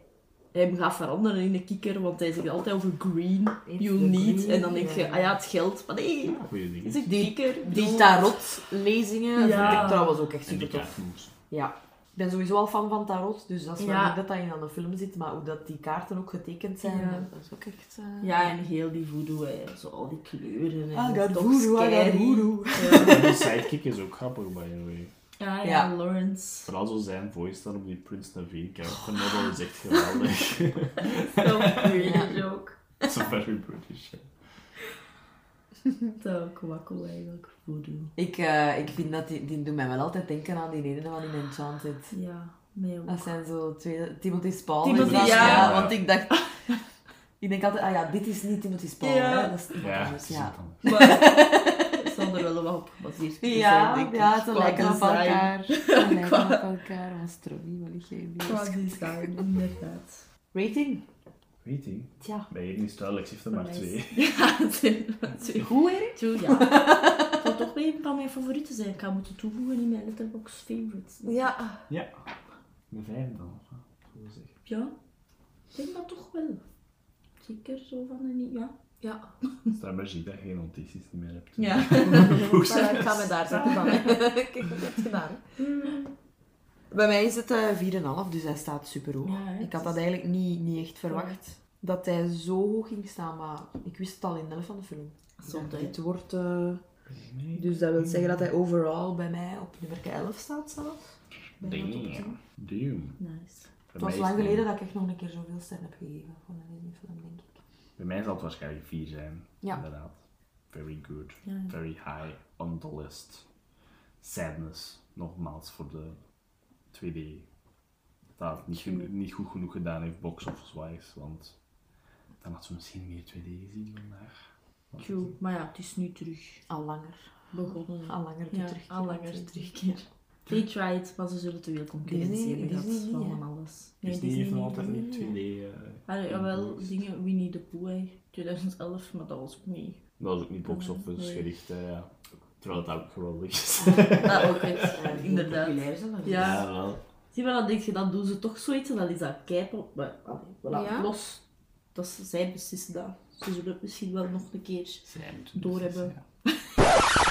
B: hem gaat veranderen in een kikker. Want hij zegt altijd over green,
D: It's
B: you
D: the
B: need.
D: green,
B: en dan denk je,
D: ja.
B: ah ja, het geld. Maar nee,
C: Goeie
B: het is
C: dingen.
B: een kikker.
D: Die
B: Doe.
D: tarotlezingen
B: Ja.
D: vind ik trouwens ook echt
C: En
D: super
C: die
D: tof.
C: kaartmoes.
D: Ja. Ik ben sowieso al fan van tarot, dus dat is wel
B: Ja.
D: niet dat dat in aan de film zit, maar hoe dat die kaarten ook getekend zijn,
B: Ja.
D: dat is ook echt... eh,
B: Ja, en heel die voodoo, hè. zo al die kleuren. En
D: I
B: dat
D: got
B: is toch
D: Ah, voodoo, I got
B: scary.
D: voodoo.
B: Ja,
C: En die sidekick is ook grappig, by the way.
B: ja,
D: Ja.
C: <laughs>
B: Lawrence.
C: Vooral zo zijn voice dan op die Prince Naveen character model is echt geweldig.
B: Zo British ook.
C: so very British.
B: Zo kwakkel eigenlijk, voodoo.
D: Ik, eh, ik vind dat die, die doen mij wel altijd denken aan die ene van in Enchanted.
B: Ja, mij
D: <laughs>
B: ook.
D: Dat zijn zo twee, Timothy Spall.
B: Timothy,
D: inderdaad.
B: ja.
D: Want ik dacht, <laughs> ik denk altijd, ah ja, dit is niet Timothy Spall.
B: Ja.
D: Hè? Dat is iemand
C: Ja, het
D: anders,
C: is
D: ja.
C: ja. anders.
B: Maar het zal er wel wat op gebaseerd kunnen
D: Ja,
B: zijn, denk ik.
D: ja, ze
B: Qua
D: lijken op
B: design. <laughs>
D: elkaar. Ze lijken op elkaar. Was Troy, wat lig jij
B: Qua
D: hier?
B: design, inderdaad.
D: Rating?
C: Weet je,
D: Tja.
C: bij Erin is duidelijk, ze heeft er maar
B: Voor mij
C: twee.
B: is- <laughs> Ja, het zijn er twee.
D: Goed, Erik?
B: True, ja. Het
D: <laughs>
B: zal toch wel een van mijn favorieten zijn. Ik ga moeten toevoegen in mijn letterbox favorites.
D: Ja.
C: Ja. De vijf dan. of wat? Hoe zeg je?
B: Ja, ik denk dat toch wel. Zeker zo van een... Ja,
D: Ja.
C: Het is daar bij zie dat je geen notities niet meer hebt.
B: Ja.
D: Maar ik ga me daar zetten dan. hè.
B: <laughs>
D: <laughs> Kijk, dat heb je gedaan. hè. Mm. Bij mij is het eh 4,5, dus hij staat super hoog.
B: Ja, hè,
D: ik had
B: het
D: dat
B: is-
D: eigenlijk niet, niet echt verwacht. Dat hij zo hoog ging staan, maar ik wist het al in de helft van de film.
B: Zonde, hè.
D: Dit wordt... eh, dus dat wil zeggen dat hij overal bij mij op nummer 11 staat zelfs. Bij mijn top 10.
C: Damn. Damn.
B: Nice.
D: Het was lang geleden dat ik echt nog een keer zoveel sterren heb gegeven voor een Disney-film, denk ik.
C: Bij mij zal het waarschijnlijk 4 zijn.
D: Ja.
C: Inderdaad. Very good.
B: Ja, ja.
C: Very high on the list. Sadness. Nogmaals voor de 2D. Dat het niet, geno- niet goed genoeg gedaan heeft, box office wise. Want dan had ze misschien meer 2D gezien vandaag. Wat is
B: True.
C: het?
B: Maar ja, het is nu terug
D: Al langer.
B: begonnen.
D: Al langer de
B: ja,
D: terugkeer.
B: al langer terugkeer. They tried, maar ze zullen te veel concurrentie
D: Disney-
B: hebben gehad
D: Disney niet,
B: van
D: hè?
B: van alles.
C: Disney Dus heeft nog altijd niet 2D.
D: Disney,
C: eh,
B: Allee, jawel,
C: ingevoerd.
B: dingen Winnie the Pooh, hè. 2011, maar dat was ook niet.
C: Dat is ook niet box office
B: Nee.
C: gericht, hè, ja. Terwijl het ook geweldig is. <laughs>
B: Dat ook,
D: <laughs>
B: hè.
D: Ja, Eh, die
B: inderdaad.
D: populair zijn er.
B: Ja.
C: wel.
B: Zie maar, dan denk je, dat doen ze toch zoiets en dat is dat keipop. Maar allee, we laten
D: Ja.
B: het los. Dat is, zij beslissen dat. Ze zullen het misschien wel nog een keer.
C: Zij moeten
B: Doorhebben.
C: beslissen,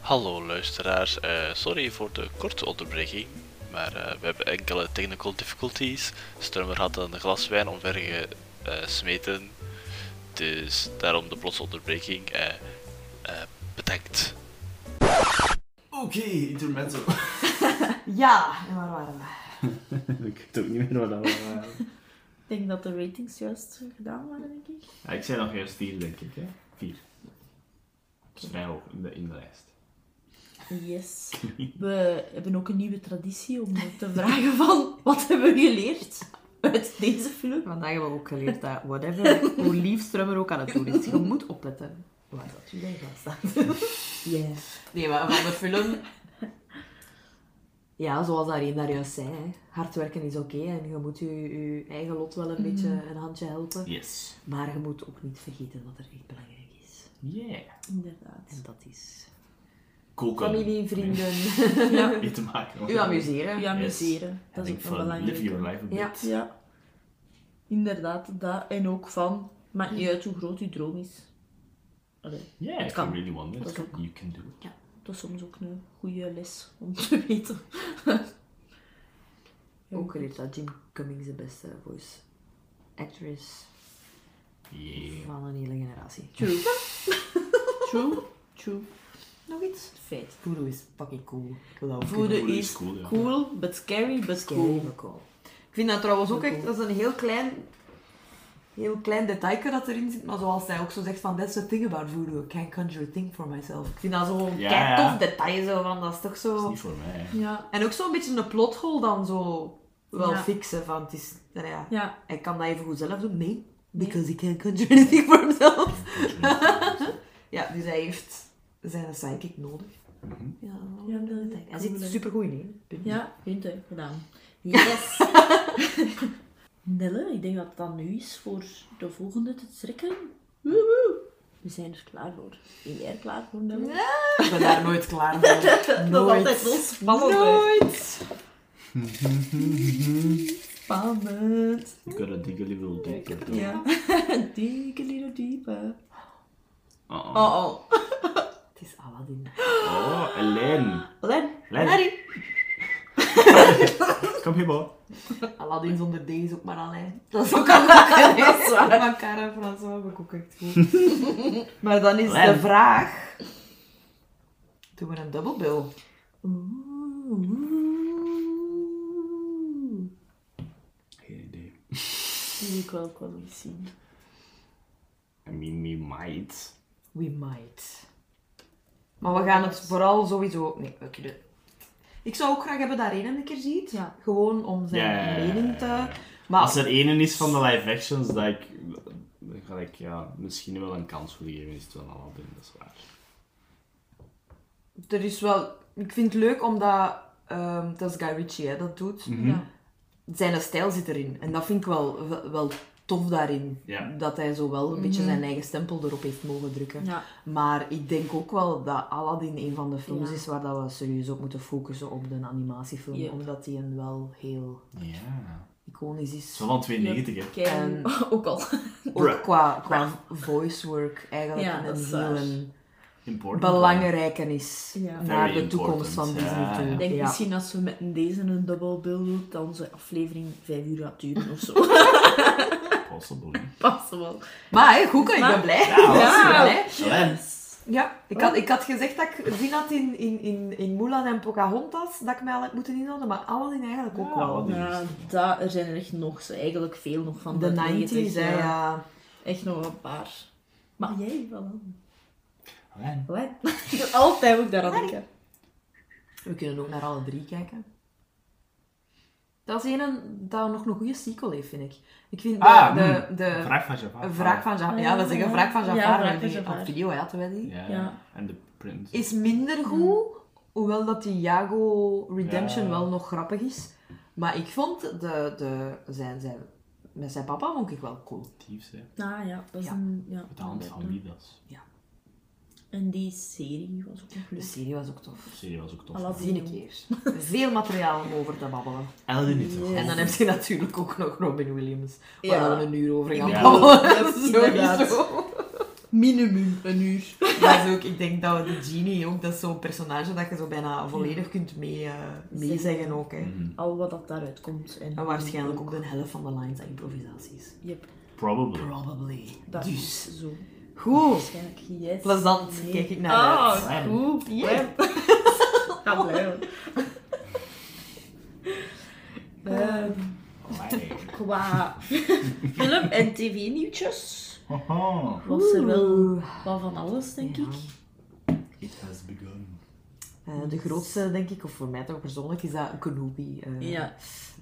F: Hallo luisteraars, eh, sorry voor de korte onderbreking, maar eh, we hebben enkele technical difficulties. Strummer had een glas wijn omver gesmeten, dus daarom de plotse onderbreking. eh, eh, bedankt.
C: ja. Oké, intermezzo.
D: Ja, en waar waren we?
C: <laughs> ik weet ook niet meer wat dat was.
B: Ik denk dat de ratings juist gedaan waren, denk ik.
C: Ja, ik zei nog eerst vier, denk ik. Hè? Vier. Dat is vrij hoog in de, in de lijst.
B: Yes.
C: <laughs>
B: We hebben ook een nieuwe traditie om te vragen van wat hebben we geleerd uit deze film?
D: Vandaag hebben we ook geleerd dat whatever, hoe lief Strummer ook aan het doen is, je moet opletten. Waar dat je daar staat.
B: Yeah.
D: Nee, maar van de film... Ja, zoals Arjen daar juist zei, hè. hard werken is oké en je moet je, je eigen lot wel een beetje een handje helpen.
C: Yes.
D: Maar je moet ook niet vergeten wat er echt belangrijk is.
C: Yeah.
D: En
B: Inderdaad.
D: dat is
C: Koken.
D: familie, vrienden,
B: Ja.
C: Mee te maken.
D: u amuseren.
B: U amuseren. Dat is ook een
C: Live your
B: belangrijke.
C: life a bit.
D: Ja.
B: Ja. Inderdaad, dat. En ook van, maakt niet uit hoe groot uw droom is. Allee,
C: Yeah, if
B: kan.
C: you really want it,
B: Dat kan.
C: you can do it.
B: dat is soms ook een goede les om te <laughs> weten.
D: Ook geleerd dat Jim Cummings de beste voice actress
C: Yeah.
D: van een hele generatie.
B: True. True. True.
D: Nog iets?
B: Feit.
D: Voodoo is fucking cool. Ik wil dat ook
B: Voodoo
D: kunnen
C: Voodoo is
B: is
C: cool, ja.
B: cool, but scary, but
D: doen.
B: cool.
D: Heel cool. Ik vind dat trouwens ook echt, dat is een heel klein, heel klein detailje dat erin zit, maar zoals hij ook zo zegt van, that's the thing about voodoo, I can't conjure a thing for myself. Ik vind dat zo'n
C: Ja,
D: kei
C: ja.
D: tof detail, zo van, dat is toch
C: Dat is
D: zo...
C: niet voor mij. hè.
B: Ja.
D: En ook zo'n beetje een plothole dan zo wel
B: Ja.
D: fixen, van, het is, nou ja,
B: Ja,
D: hij kan dat even goed zelf doen, nee, because he can't conjure anything for himself. Ja, dus hij heeft zijn psychic nodig.
C: Mhm.
D: Ja,
B: Ja, dat is
D: Hij
B: cool,
D: zit
B: hè.
D: supergoed in. hè.
B: Ja, punten gedaan. Yes! <laughs> Nelle, ik denk dat het dan nu is voor de volgende te trekken. Woehoe. We zijn er klaar voor. Ben jij er klaar voor, Nelle?
D: Ik ben daar nooit klaar voor.
B: Dat is
D: Nooit.
B: altijd zo spannend. hè.
D: Nooit.
B: Spannend.
C: Gotta dig a little deeper.
B: <laughs> Ja. Dig a little deeper.
C: Oh, oh.
B: Oh, oh.
D: Het is Aladdin.
C: oh Ellen.
D: Aladdin.
C: Len.
D: Aladdin.
C: Kom hier, boy.
D: Aladdin zonder D is ook maar Alain. Dat is ook Aladdin. <laughs> dat is waar. Maar Cara François heb ik ook echt goed. <laughs> maar dan is
C: Aladdin.
D: de vraag... Doen we een dubbelbill?
B: Oeh.
C: Geen idee.
B: Die wil ik wel, ik wel eens zien.
C: I mean, we might.
D: We might. Maar we gaan het vooral sowieso... Nee, we kunnen... Ik zou ook graag hebben dat Renan een keer ziet.
B: Ja.
D: Gewoon om zijn
C: Ja.
D: mening te... Maar
C: Als er ene is van de live actions dat ik, dan ga ik ja, misschien wel een kans voor geven, is het wel Aladdin, dat is waar.
D: er is wel... Ik vind het leuk omdat... ehm dat is Guy Ritchie, hè, dat doet.
C: Mhm.
B: Ja.
D: Zijn stijl zit erin. En dat vind ik wel, wel, wel tof daarin.
C: Ja.
D: Dat hij zo wel een beetje zijn eigen stempel erop heeft mogen drukken.
B: Mhm. Ja.
D: Maar ik denk ook wel dat Aladdin een van de films
B: Ja.
D: is waar dat we serieus op moeten focussen op de animatiefilm.
B: Ja.
D: Omdat die een wel heel...
C: Ja.
D: iconisch is.
C: Zo van 92, hè.
B: Kei-
D: En-
B: <laughs> ook al.
C: Bruh.
D: Ook qua, qua voice work eigenlijk
B: Ja, dat
D: een
B: is
D: heel
B: waar.
D: een
C: Important.
D: belangrijke is
B: Ja.
D: naar
C: Very
D: de toekomst van
C: important,
D: Disney
C: ja,
D: toe.
C: ja.
B: Ik denk
D: Ja.
B: misschien als we met deze een double bill doen, dan zijn aflevering 5 uur gaat duren of
D: <laughs>
B: zo.
C: Possible. hè.
B: Pas wel.
D: Maar hè, goed, hè, ik ben
B: Maar-
D: blij.
C: Ja,
D: Ja, hè.
C: Slim.
D: Ja, ik had, ik had gezegd dat ik gezien had in, in, in, in Mulan en Pocahontas, dat ik mij al had moeten inhouden, maar alle dingen eigenlijk ook
C: Ja,
D: wel.
C: wat is-
B: Ja, daar er zijn er echt nog, zo- eigenlijk veel nog van.
D: De
B: 90s,
D: 90s, hè, ja.
B: Echt nog een paar. Maar jij wel aan.
C: Slim.
B: Wat?
D: <laughs>
B: Altijd moet ik daar aan denken.
D: We kunnen ook naar alle drie kijken. Dat is een dat nog een goede sequel heeft, vind ik. Ik vind de,
C: Ah,
D: de,
C: hmm.
D: de
C: Vraag van Jafar.
D: wraak van Jafar, ja, dat is een wraak van
B: Ja,
D: Jafar,
B: wraak
D: en
B: van
D: die-
B: Jafar.
D: op video hadden we die.
C: Ah, Ja.
B: Ja.
C: En de prins.
D: is minder goed, hoewel dat die Jago Redemption
C: Ja.
D: wel nog grappig is. Maar ik vond de, de, zijn, zijn, met zijn papa vond ik wel cool.
C: Diefs, hè.
B: Nou ja, dat is
D: Ja.
B: een... Ja.
C: Met de hand van Midas.
B: En die serie was ook nog
D: De
B: leuk.
D: serie was ook tof.
C: De serie was ook tof.
B: Aladdin.
D: Zie een keer. Veel materiaal om over te babbelen.
C: Aladdin is toch
B: Ja.
D: En dan heb je natuurlijk ook nog Robin Williams. Waar
B: Ja.
D: we een uur over gaan
C: Ja.
B: <laughs>
D: babbelen.
B: inderdaad.
D: Sowieso.
B: Minimum een uur.
D: Dat is ook, ik denk dat we de Genie ook, dat is zo'n personage dat je zo bijna volledig kunt mee, eh, meezeggen ook. Hè.
C: Mhm.
B: Al wat dat daaruit komt. En,
D: En waarschijnlijk ook de helft van de lines en improvisaties.
B: Yep,
C: Probably.
D: Probably.
B: dat
D: Dus.
B: is zo.
D: Goed.
B: Waarschijnlijk yes.
D: Plezant.
B: Nee. <laughs>
D: Kijk ik naar uit.
B: Ah,
C: Slim.
B: goed.
D: Ja.
B: Ga
D: <laughs>
B: blijven. Ehm,
C: Allee.
D: <laughs>
B: qua film en tv-nieuwtjes
C: Haha.
B: was er wel
D: Oeh.
B: wat van alles, denk
D: Ja.
B: ik.
C: It has begun.
D: Eh, de grootste, denk ik, of voor mij toch persoonlijk, is dat Kenobi eh,
B: Ja.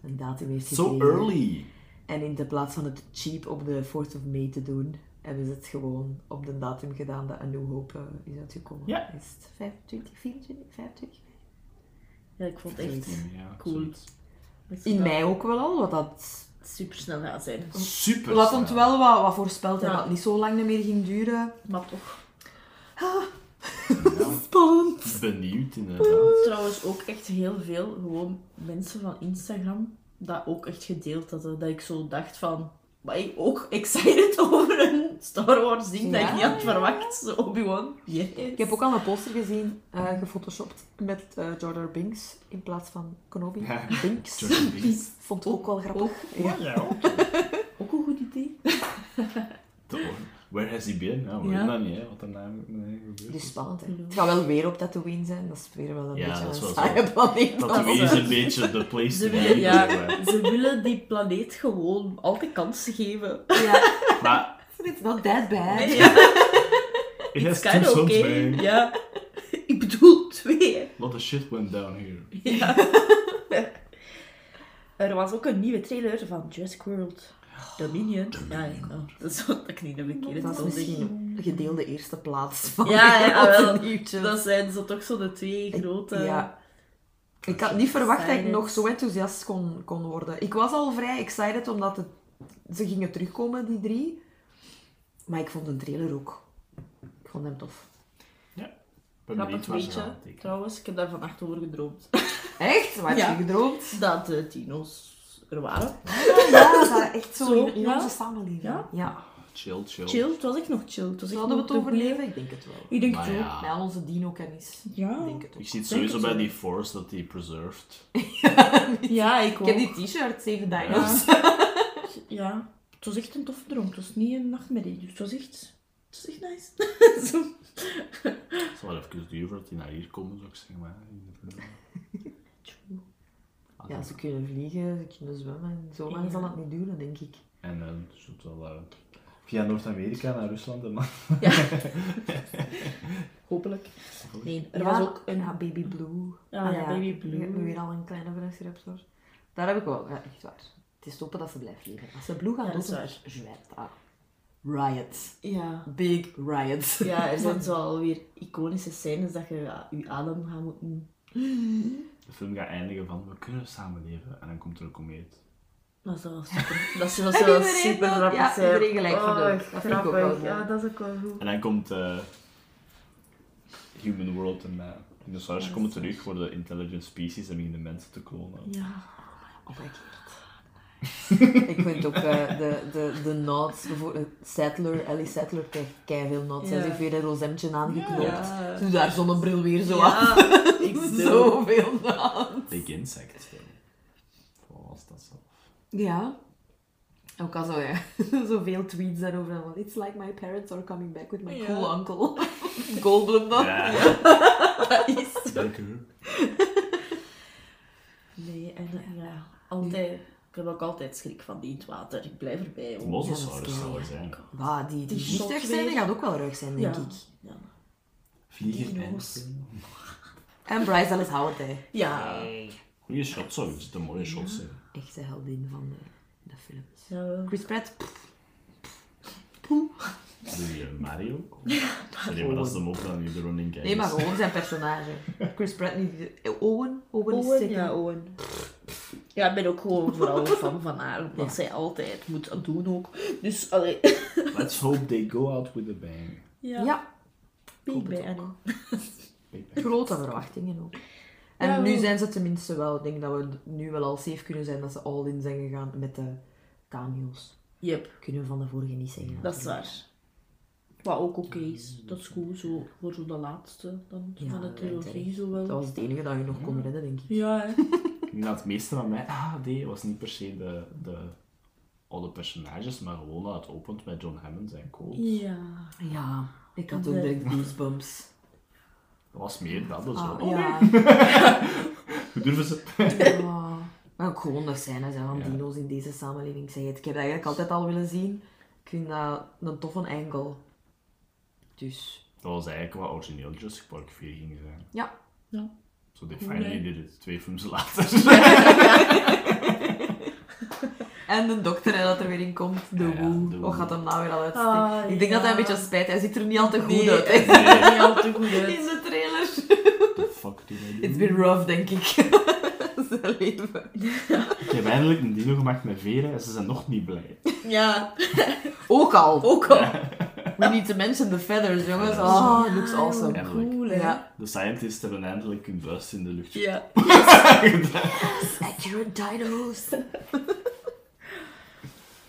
D: een datum heeft
C: So
D: gekregen.
C: early.
D: En in de plaats van het cheap op de 4th of May te doen, hebben ze het gewoon op de datum gedaan dat A New Hope eh, is uitgekomen.
C: Ja.
D: Is het 25, 24, 25?
B: ja, ik vond het echt
C: Zoiets, ja,
B: cool.
C: zoiets.
B: dat ze
D: In
B: dat
D: mei ook wel al, wat dat...
B: super snel gaat zijn.
C: Super.
D: Wat
C: snel.
D: ons wel wat, wat voorspeld en
B: Ja.
D: wat niet zo lang meer ging duren.
B: Maar toch.
D: Spannend!
C: Benieuwd inderdaad.
B: Trouwens ook echt heel veel gewoon mensen van Instagram dat ook echt gedeeld hadden. Dat ik zo dacht van, ben ik ook excited <laughs> over een Star Wars ding dat
D: Ja.
B: ik niet had verwacht? Zo, Obi-Wan. Yes.
D: Ik heb ook al een poster gezien, eh gefotoshopt, met eh Jordan Binks in plaats van Kenobi.
C: Ja.
D: Binks.
C: Jordan Binks.
D: Vond ik ook wel grappig. Ja.
B: ook een goed idee.
C: Toch. Where has he been? Nou, we
B: Ja.
C: weten dat niet, hè, wat er nou nee, gebeurd
D: Dus
C: is.
D: spannend, hè.
B: Ja.
D: Het gaat wel weer op Tatooine zijn. Dat is weer wel een
C: Ja,
D: beetje
C: dat is wel
D: een saaie
C: zo.
D: planeet.
C: Dat
B: was,
C: is
B: eh,
C: een beetje de place
B: Ze
C: to
B: willen,
C: be.
B: ja,
C: maar-
B: ze willen die planeet gewoon altijd kansen geven.
D: Ja,
C: Maar
D: it's not that bad.
B: Ja,
C: it has two
B: kind of
C: sons,
B: oké.
C: man.
B: Ja. Ik bedoel, twee.
C: lot of shit went down here.
B: Ja. <laughs> er was ook een nieuwe trailer van Jurassic World. Dominion. Ja, ja, nou, dat is wat ik niet de verkeerde
D: Dat is
B: toon zeg.
D: misschien gedeelde eerste plaats van
B: Ja,
D: <laughs>
B: ja,
D: onze
B: wel.
D: nieuwtjes.
B: Dat zijn zo toch zo de twee grote...
D: Ja. Ik had niet verwacht dat ik
B: Excited.
D: nog zo enthousiast kon, kon worden. Ik was al vrij excited omdat het, ze gingen terugkomen, die drie. Maar ik vond de trailer ook. Ik vond hem tof.
C: Ik ben
B: Grappig
C: benieuwd waar ze
B: weetje,
C: gaan tekenen.
B: trouwens. Ik heb daar vannacht over gedroomd. <laughs>
D: Echt? Waar heb je
B: Ja.
D: gedroomd?
B: Dat de dino's er waren.
D: <laughs> Ja, dat waren echt zo,
B: Zo,
D: in, in
B: ja.
D: onze samenleving.
B: Ja.
C: Chill, chill.
B: Chill, het was echt nog chill. Het was echt
D: Zouden we
B: nog
D: het
B: te beleven.
D: overleven? Ik denk het wel.
B: Ik denk
C: Maar
B: het ook.
C: ja,
D: Met al onze dino-kennis. Ik
B: Ja.
D: denk het ook.
C: ik zie het
B: Denk
C: sowieso
B: het
C: bij
B: wel.
C: die force dat die preserved.
B: Ja, ik ook.
D: Ik heb die t-shirt, 7 dino's.
B: <laughs> Ja, het was echt een toffe droom. Het was niet een nachtmerrie. Dus het was echt... Het was echt nice. Zo.
C: Het zal wel even duren voordat die naar hier komen, zou ik zeggen. Maar, Ah,
D: Ja, ze kunnen vliegen, ze kunnen zwemmen. Zo lang
B: Ja.
D: zal het niet duren, denk ik.
C: En eh, het zult wel... eh, via Noord-Amerika naar Rusland en dan...
B: Hopelijk. Nee, er
D: Ja,
B: was ook een...
D: Ja, Baby Blue.
B: Ja,
D: Ah,
B: ja, Baby Blue.
D: We hebben weer al een kleine Velociraptor. Daar heb ik wel, ja, echt waar. Het is stoppen dat ze blijft leven. Als ze Blue gaan
B: Ja, dat is
D: doen, dan
B: waar.
D: zwijgt dat. Riot.
B: Ja.
D: Big riot.
B: Ja, er <laughs> zijn zo alweer iconische scènes dat je ja, je adem gaat moeten...
C: De film gaat eindigen van, we kunnen samenleven. En dan komt er een komeet.
B: Dat <laughs> zou wel super... Dat zou
D: Heb
B: wel
D: iedereen
B: super
D: dat?
B: grappig
D: Ja,
B: zijn.
D: iedereen gelijk van de-
B: oh,
D: dat vind ik ook wel
B: grappig.
D: goed.
B: Ja, dat is ook wel goed.
C: En dan komt eh, Human World en eh dinosaurus
B: Ja,
C: komen
B: dat is
C: terug voor de intelligent species en beginnen mensen te klonen.
B: Ja.
D: Omgekeerd. Oh Ik vind ook eh, de, de, de nods, bijvoorbeeld Settler, Ellie Settler krijgt keiveel nods. Zij
B: Ja.
D: heeft weer een rozemtje aangeknoopt.
B: Ja.
D: Doe daar zonnebril weer zo aan.
B: Eh, Ja, Ah. <laughs> ik zo.
D: <laughs> Zoveel nods.
C: Big Insect. film. Wat was dat zo?
D: Ja. Ook al zo, ja. <laughs> Zoveel tweets daarover. en wel, It's like my parents are coming back with my
B: Ja.
D: cool uncle.
B: <laughs>
D: Goldblum dan.
C: Ja,
B: Dat is zo.
C: zeker.
B: Nee, en eh, ja, altijd. Ik heb ook altijd schrik van die in het water. Ik blijf erbij. hoor.
C: Mosasaurus
D: Ja, dat is
C: zou er
D: scary.
C: zijn.
D: Bah, die, die
B: Die shot
D: vliegtuig zijn, die
B: weer.
D: gaat ook wel ruig zijn, denk
B: Ja.
D: ik.
B: Ja.
C: Vlieger en...
B: Dino's.
D: En Bryce Dallas Howard, hè.
B: Ja.
C: Goeie shot zou het een mooie shot zijn.
D: Echte heldin van de, de films.
B: Ja.
D: Chris Pratt, pff,
C: Doe je Mario? Nee, maar dat is de mop dan nu de running game.
D: nee, maar gewoon zijn
B: <laughs>
D: personage. Chris Pratt niet... eh, Owen? Owen, is
B: Owen,
D: sick.
B: ja, Owen. Ja, ik ben ook gewoon vooral fan van <laughs> haar, omdat zij altijd moet doen ook. Dus, allee.
C: Let's hope they go out with a bang.
B: Ja,
D: Ja,
B: ik ben Annie.
C: Big bang.
D: grote verwachtingen ook. En
B: Ja,
D: nu
B: wel.
D: zijn ze tenminste wel... Ik denk dat we nu wel al safe kunnen zijn dat ze all-in zijn gegaan met de cameo's.
B: Yep,
D: Kunnen we van de vorige niet zeggen.
B: dat is waar. Wat ook oké is. Dat is goed, zo, voor zo de laatste dan,
D: Ja,
B: van de
D: dat lijkt
B: trilogie
D: echt.
B: zo
D: Dat
B: wel.
D: was het enige dat je nog kon redden, denk ik.
B: Ja,
D: <laughs>
B: hè.
C: Nou, het meeste van mij ah, nee, was niet per se de, de oude personages, maar gewoon dat het opent met John Hammond en Co.
B: ja.
D: Ja, ik had ook
B: Nee.
D: de goosebumps.
C: Dat was meer dat, dus wel.
D: Ah,
C: Oh,
D: ja.
C: Hoe durven ze?
B: <laughs>
D: Ah. Maar ook gewoon de scènes hè, van
C: Ja.
D: dino's in deze samenleving. Ik zeg het, ik heb dat eigenlijk altijd al willen zien. Ik vind dat een toffe angle. Dus,
C: Dat was eigenlijk wat origineel Jurassic Park 4 ging zijn.
D: ja.
B: Ja.
C: Zo so they
B: Nee.
C: finally did it, twee films later.
D: En de dokter hè, dat er weer in komt, de
C: Ja, ja,
D: woe.
C: de
D: Wat
C: woe.
D: gaat hem nou weer al uitsteken?
B: Ah,
D: ik denk dat hij een
B: ja.
D: beetje spijt Hij ziet er niet al te goed
B: Nee,
D: uit hè,
C: <laughs> Nee,
B: Niet al te goed
D: <laughs> in
B: uit.
D: de trailer.
C: the fuck did I do?
D: It's been rough, denk ik. <laughs> Zijn leven.
C: Ik heb eindelijk een dino gemaakt met veren en ze zijn nog niet blij.
B: Ja,
D: Ook al.
B: ook al.
D: We need to mention the feathers, jongens.
C: Ja.
D: Ah, looks awesome.
C: Eindelijk.
B: Cool, hè.
D: Ja.
C: De scientists hebben eindelijk hun vuist in de lucht
B: Ja.
D: Accurate dinos.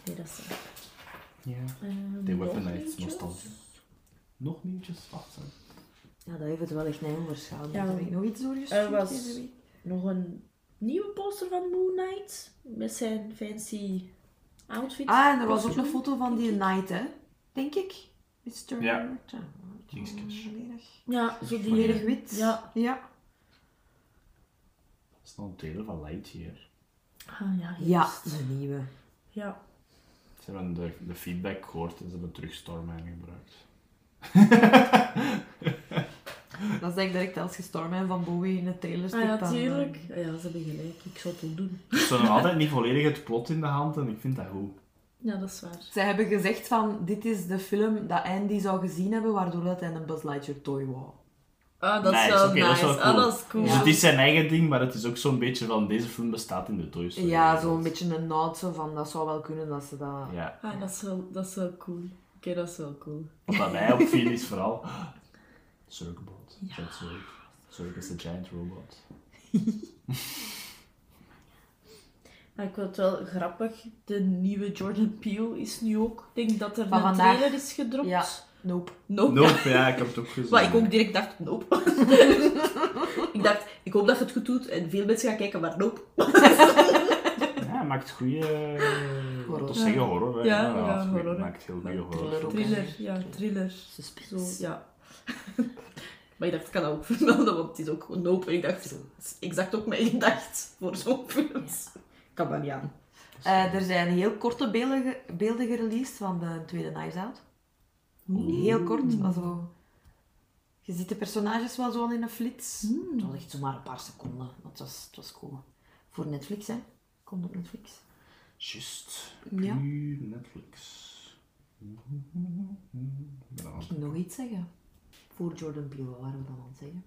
B: Nee, dat is waar.
C: Ja.
B: Ehm,
C: They
B: nog
C: weaponized
B: eentje?
C: nostalgia. Nog nieuwtjes? Wacht, hè.
D: Ja, dat heeft het wel echt naar onderschouwd.
B: Ja.
D: Ja. Heb ik nog iets doorgestuurd
B: Er was-
D: deze week?
B: nog een nieuwe poster van Moon Knight. Met zijn fancy outfit.
D: Ah, en er was ook
B: Kostuum.
D: een foto van die Knight, hè? Denk ik. Mr.
C: Ja. Jezus.
D: Volledig
B: Ja, zo die
D: volledig wit.
B: Ja.
D: Ja.
C: Dat is nog een trailer van Lightyear.
B: Ah, ja,
D: Ja,
B: juist.
D: de nieuwe.
B: Ja.
C: Ze hebben de, de feedback gehoord en ze hebben terug Stormman gebruikt.
D: Dat is eigenlijk direct als je Stormman van Bowie in de trailer
B: Ah,
D: stikt.
B: ja,
D: dan, eh,
B: tuurlijk. Ah, ja, ze hebben gelijk. Ik zou het wel doen.
C: Dus Ze hebben nog altijd niet volledig het plot in de hand en ik vind dat goed.
B: Ja, dat is waar.
D: Zij hebben gezegd van, dit is de film dat Andy zou gezien hebben, waardoor dat hij een Buzz Lightyear toy wou.
B: Ah, dat is
C: Nice,
B: wel
C: oké,
B: nice.
C: dat is wel
B: Ah,
C: cool.
B: dat is cool.
C: Dus
D: Ja.
C: het is zijn eigen ding, maar het is ook zo'n beetje van deze film bestaat in de Toy Story.
D: Ja,
C: wereld.
D: zo'n beetje een nod zo van, dat zou wel kunnen dat ze dat...
C: Ja,
B: Ah, dat is wel, dat is wel cool. Oké, dat is wel cool.
C: wat dat mij opviel is vooral... <gasps> Circlebot. Ja. Circle is een giant robot.
B: Maar ik vind het wel grappig. De nieuwe Jordan Peele is nu ook. Ik denk dat er
D: Van
B: een
D: vandaag.
B: trailer is gedropt.
D: Ja. Nope.
B: Nope.
C: Nope, ja, ik heb het ook gezien.
B: Wat ik ook direct dacht, nope. <laughs> ik dacht, ik hoop dat je het goed doet en veel mensen gaan kijken, maar nope.
C: Ja, hij maakt eh, goede...
D: Horror.
C: Horror. zeggen horror, hè.
B: Ja, ja,
C: hij
B: horror.
C: maakt heel goede
D: Thriller
C: horror.
D: ook.
B: Thriller, ja, thriller. Zo,
D: Suspense.
B: ja. <laughs> maar ik dacht, ik kan dat ook vermelden, want het is ook gewoon nope. En ik dacht, het is exact ook mijn gedacht voor zo'n films. Kan dat niet aan.
D: Eh, er zijn heel korte beelden, ge- beelden gereleased van de tweede Knives Out. Heel kort, maar zo... Je ziet de personages wel zo al in een flits. Het was echt zomaar een paar seconden. maar Het was, het was cool. Voor Netflix, hè. Komt op Netflix.
C: Just.
D: Ja.
C: Nu Netflix. Ja,
D: Ik ging nog iets zeggen. Voor Jordan Peele, wat waren we dan aan het zeggen?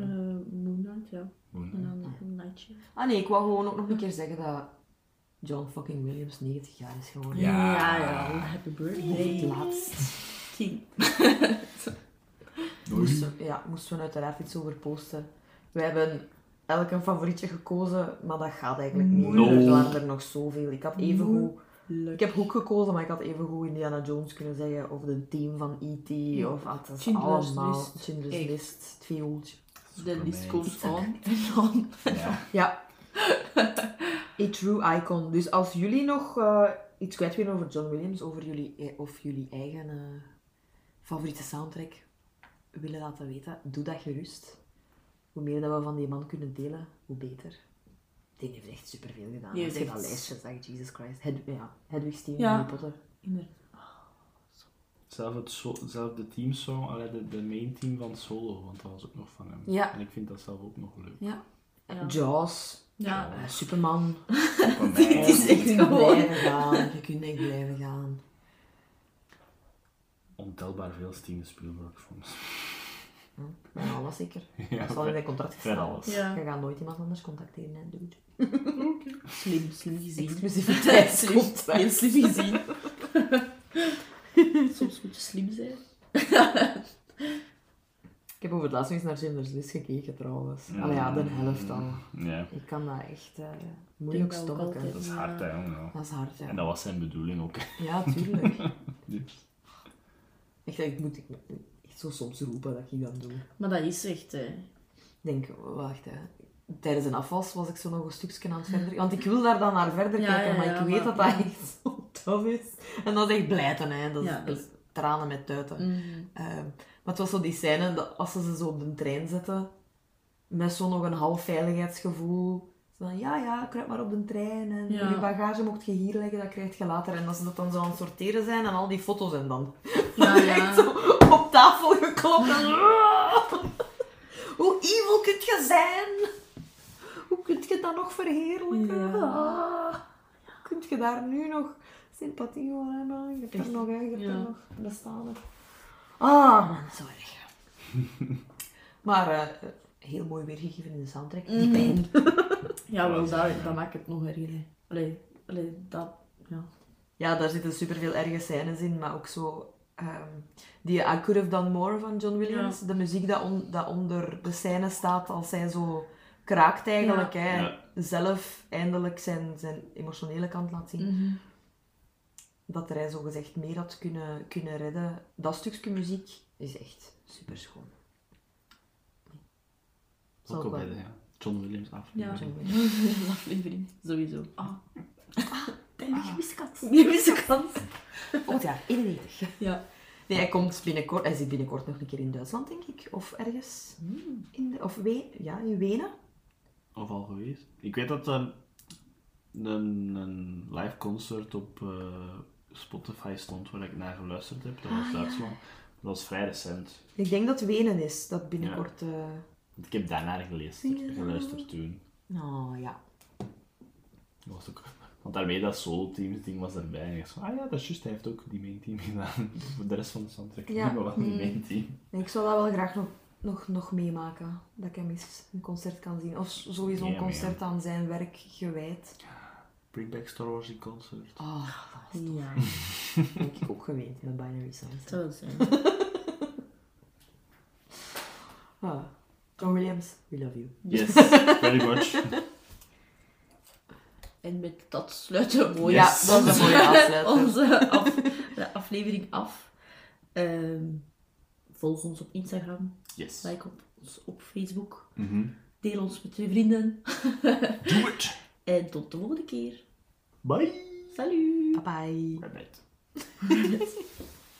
B: Eh Moon Knight, ja.
C: Moon
B: En dan nog een nightje.
D: Ah nee, ik wou gewoon ook nog een keer zeggen dat John fucking Williams 90 jaar is geworden.
C: Ja.
B: Ja, ja. Happy
D: Het
B: birthday.
D: laatst.
B: King.
D: Dus, Moesten, ja, moesten we uiteraard iets over posten. We hebben elk een favorietje gekozen, maar dat gaat eigenlijk niet.
C: Moeilijk.
D: Er waren er nog zoveel. Ik had even goed...
B: Leuk.
D: Ik heb Hoek gekozen, maar ik had even goed Indiana Jones kunnen zeggen. Of de team van E.T. Of ah, dat is
B: Schindler's
D: allemaal...
B: List.
D: Schindler's
B: Echt.
D: List. Het viooltje.
B: eh, De list komt
C: Supermeid.
B: aan en aan.
C: Ja.
D: Ja. <laughs> A true icon. Dus als jullie nog eh, iets kwijt willen over John Williams, over jullie, eh, of jullie eigen eh, favoriete soundtrack willen laten weten, doe dat gerust. Hoe meer dat we van die man kunnen delen, hoe beter. Die heeft echt superveel gedaan.
B: Die
D: Als je
B: heeft
D: dat
B: echt-
D: lijstje zegt, Jesus Christ. Hed ja, Hedwig Steen,
B: Ja.
D: Harry Potter.
B: Inderdaad.
C: Zelf, het so- zelf de teamsong, allee, de, de main team van Solo, want dat was ook nog van hem.
D: Ja.
C: En ik vind dat zelf ook nog leuk.
B: Ja.
D: Jaws,
B: Ja. <laughs>
D: eh, Superman.
C: Supermeid.
B: is echt
D: je kunt
B: gewoon-
D: blijven gaan. Je kunt echt blijven gaan.
C: Ontelbaar veel Steven Spielberg films. <laughs>
D: Maar alles zeker.
C: Ja,
D: Dat is al in mijn contract
C: Ver
D: gestaan.
C: alles.
B: Ja.
D: Je gaat nooit iemand anders contacteren, hè, dude.
B: Slim, slim gezien. Slim,
D: Exclusiviteitscontract.
B: heel slim <laughs> gezien. Soms moet je slim zijn.
D: Ik heb over het laatst nog eens naar Schindler's List gekeken, trouwens.
C: Mm.
D: Allee, ja, de helft al.
C: Ja,
D: Ik kan dat echt eh, moeilijk
B: dat ook
D: stoppen.
B: altijd.
C: dat is hard, hè, jongen. ja.
D: Dat is hard,
C: En
D: ja.
C: dat was zijn bedoeling ook.
D: Ja, tuurlijk.
C: Dus,
D: Echt, ik moet ik moet echt zo soms roepen dat ik dat doe. Ik
B: Maar dat is echt... eh,
D: denk, wacht, hè. Tijdens een afwas was ik zo nog een stukje aan het verder... Want ik wil daar dan naar verder
B: Ja,
D: kijken,
B: ja,
D: maar
B: ja,
D: ik weet
B: maar-
D: dat dat <laughs> echt zo tof is. En dat is echt blijten, hè. Dat is
B: Ja, dat is-
D: tranen met tuiten.
B: mhm.
D: Ehm, maar het was zo die scène dat als ze ze zo op de trein zetten, met zo nog een half veiligheidsgevoel. Zo van, ja, ja, kruip maar op de trein en
B: Ja.
D: je bagage mocht je hier leggen, dat krijg je later. En dat ze dat dan zo aan het sorteren zijn en al die foto's en dan
B: Ja, <laughs>
D: echt
B: ja.
D: <laughs> zo op tafel geklopt. En... <laughs> Hoe evil kun je zijn? Hoe kun je dat nog verheerlijken?
B: Ja.
D: Ah, kun je daar nu nog sympathie voor hebben? Je hebt er
B: Echt.
D: nog, hè, je hebt er
B: Ja.
D: nog bestaan. hè. Ah, man, sorry. <laughs> maar eh, heel mooi weergegeven in de soundtrack. Die
B: Mhm.
D: pijn.
B: Ja, wel, dat, dat maakt het nog erger. hè. Allee, allee, dat... <laughs> Ja.
D: Ja, daar zitten superveel erge scènes in, maar ook zo... ehm, die I Could Have Done More van John Williams. De muziek dat, on- dat onder de scène staat als zij zo kraakt eigenlijk. Hè,
C: Ja.
D: Zelf eindelijk zijn, zijn emotionele kant laat zien. Dat hij zogezegd meer had kunnen, kunnen redden. Dat stukje muziek is echt superschoon. Zal
C: ook al
D: ik
C: bij
D: wel-
C: de ja. John Williams aflevering.
B: Ja.
D: John Williams.
B: aflevering. Sowieso. Ah. Ah, <laughs> wiskat.
D: Volgend jaar, 91.
B: Ja.
D: Nee, hij komt binnenkort... Hij zit binnenkort nog een keer in Duitsland, denk ik. Of ergens. In de, of we, ja, in Wenen.
C: Of al geweest. Ik weet dat er een, een live concert op eh, Spotify stond waar ik naar geluisterd heb. Dat was Duitsland. Dat was vrij recent.
D: Ik denk dat Wenen is, dat binnenkort... eh
C: Want ik heb daarnaar gelezen, geluisterd toen.
D: Nou, ja.
C: Dat was ook... Want daarmee dat solo teams ding was erbij. En ik dacht van, ah ja, dat is juist, hij heeft ook die main team gedaan. <laughs> Dus Voor de rest van de soundtrack.
D: Ja.
C: Ja. Maar wel die main team.
D: Ik zou dat wel graag nog, nog, nog meemaken. Dat ik hem eens een concert kan zien. Of sowieso een
C: Ja, maar ja.
D: concert aan zijn werk gewijd.
C: Bring back Star Wars in concert.
D: Oh,
B: <laughs> Ja,
D: dat heb ik ook geweend met Binary Sounds.
B: dat wil zijn.
D: Ah, John Williams, we love you.
C: Yes, very much.
B: <laughs> En met dat sluiten we mooi
C: Yes.
D: Ja, dat is
B: <laughs>
D: een mooie afsluiter.
B: onze af, de aflevering af. Ehm, volg ons op Instagram,
C: Yes.
B: like op, ons op Facebook,
C: Mhm.
B: deel ons met je vrienden.
C: Do it!
B: En tot de volgende keer.
C: Bye!
B: Salut!
D: Bye bye.
C: Bye bye.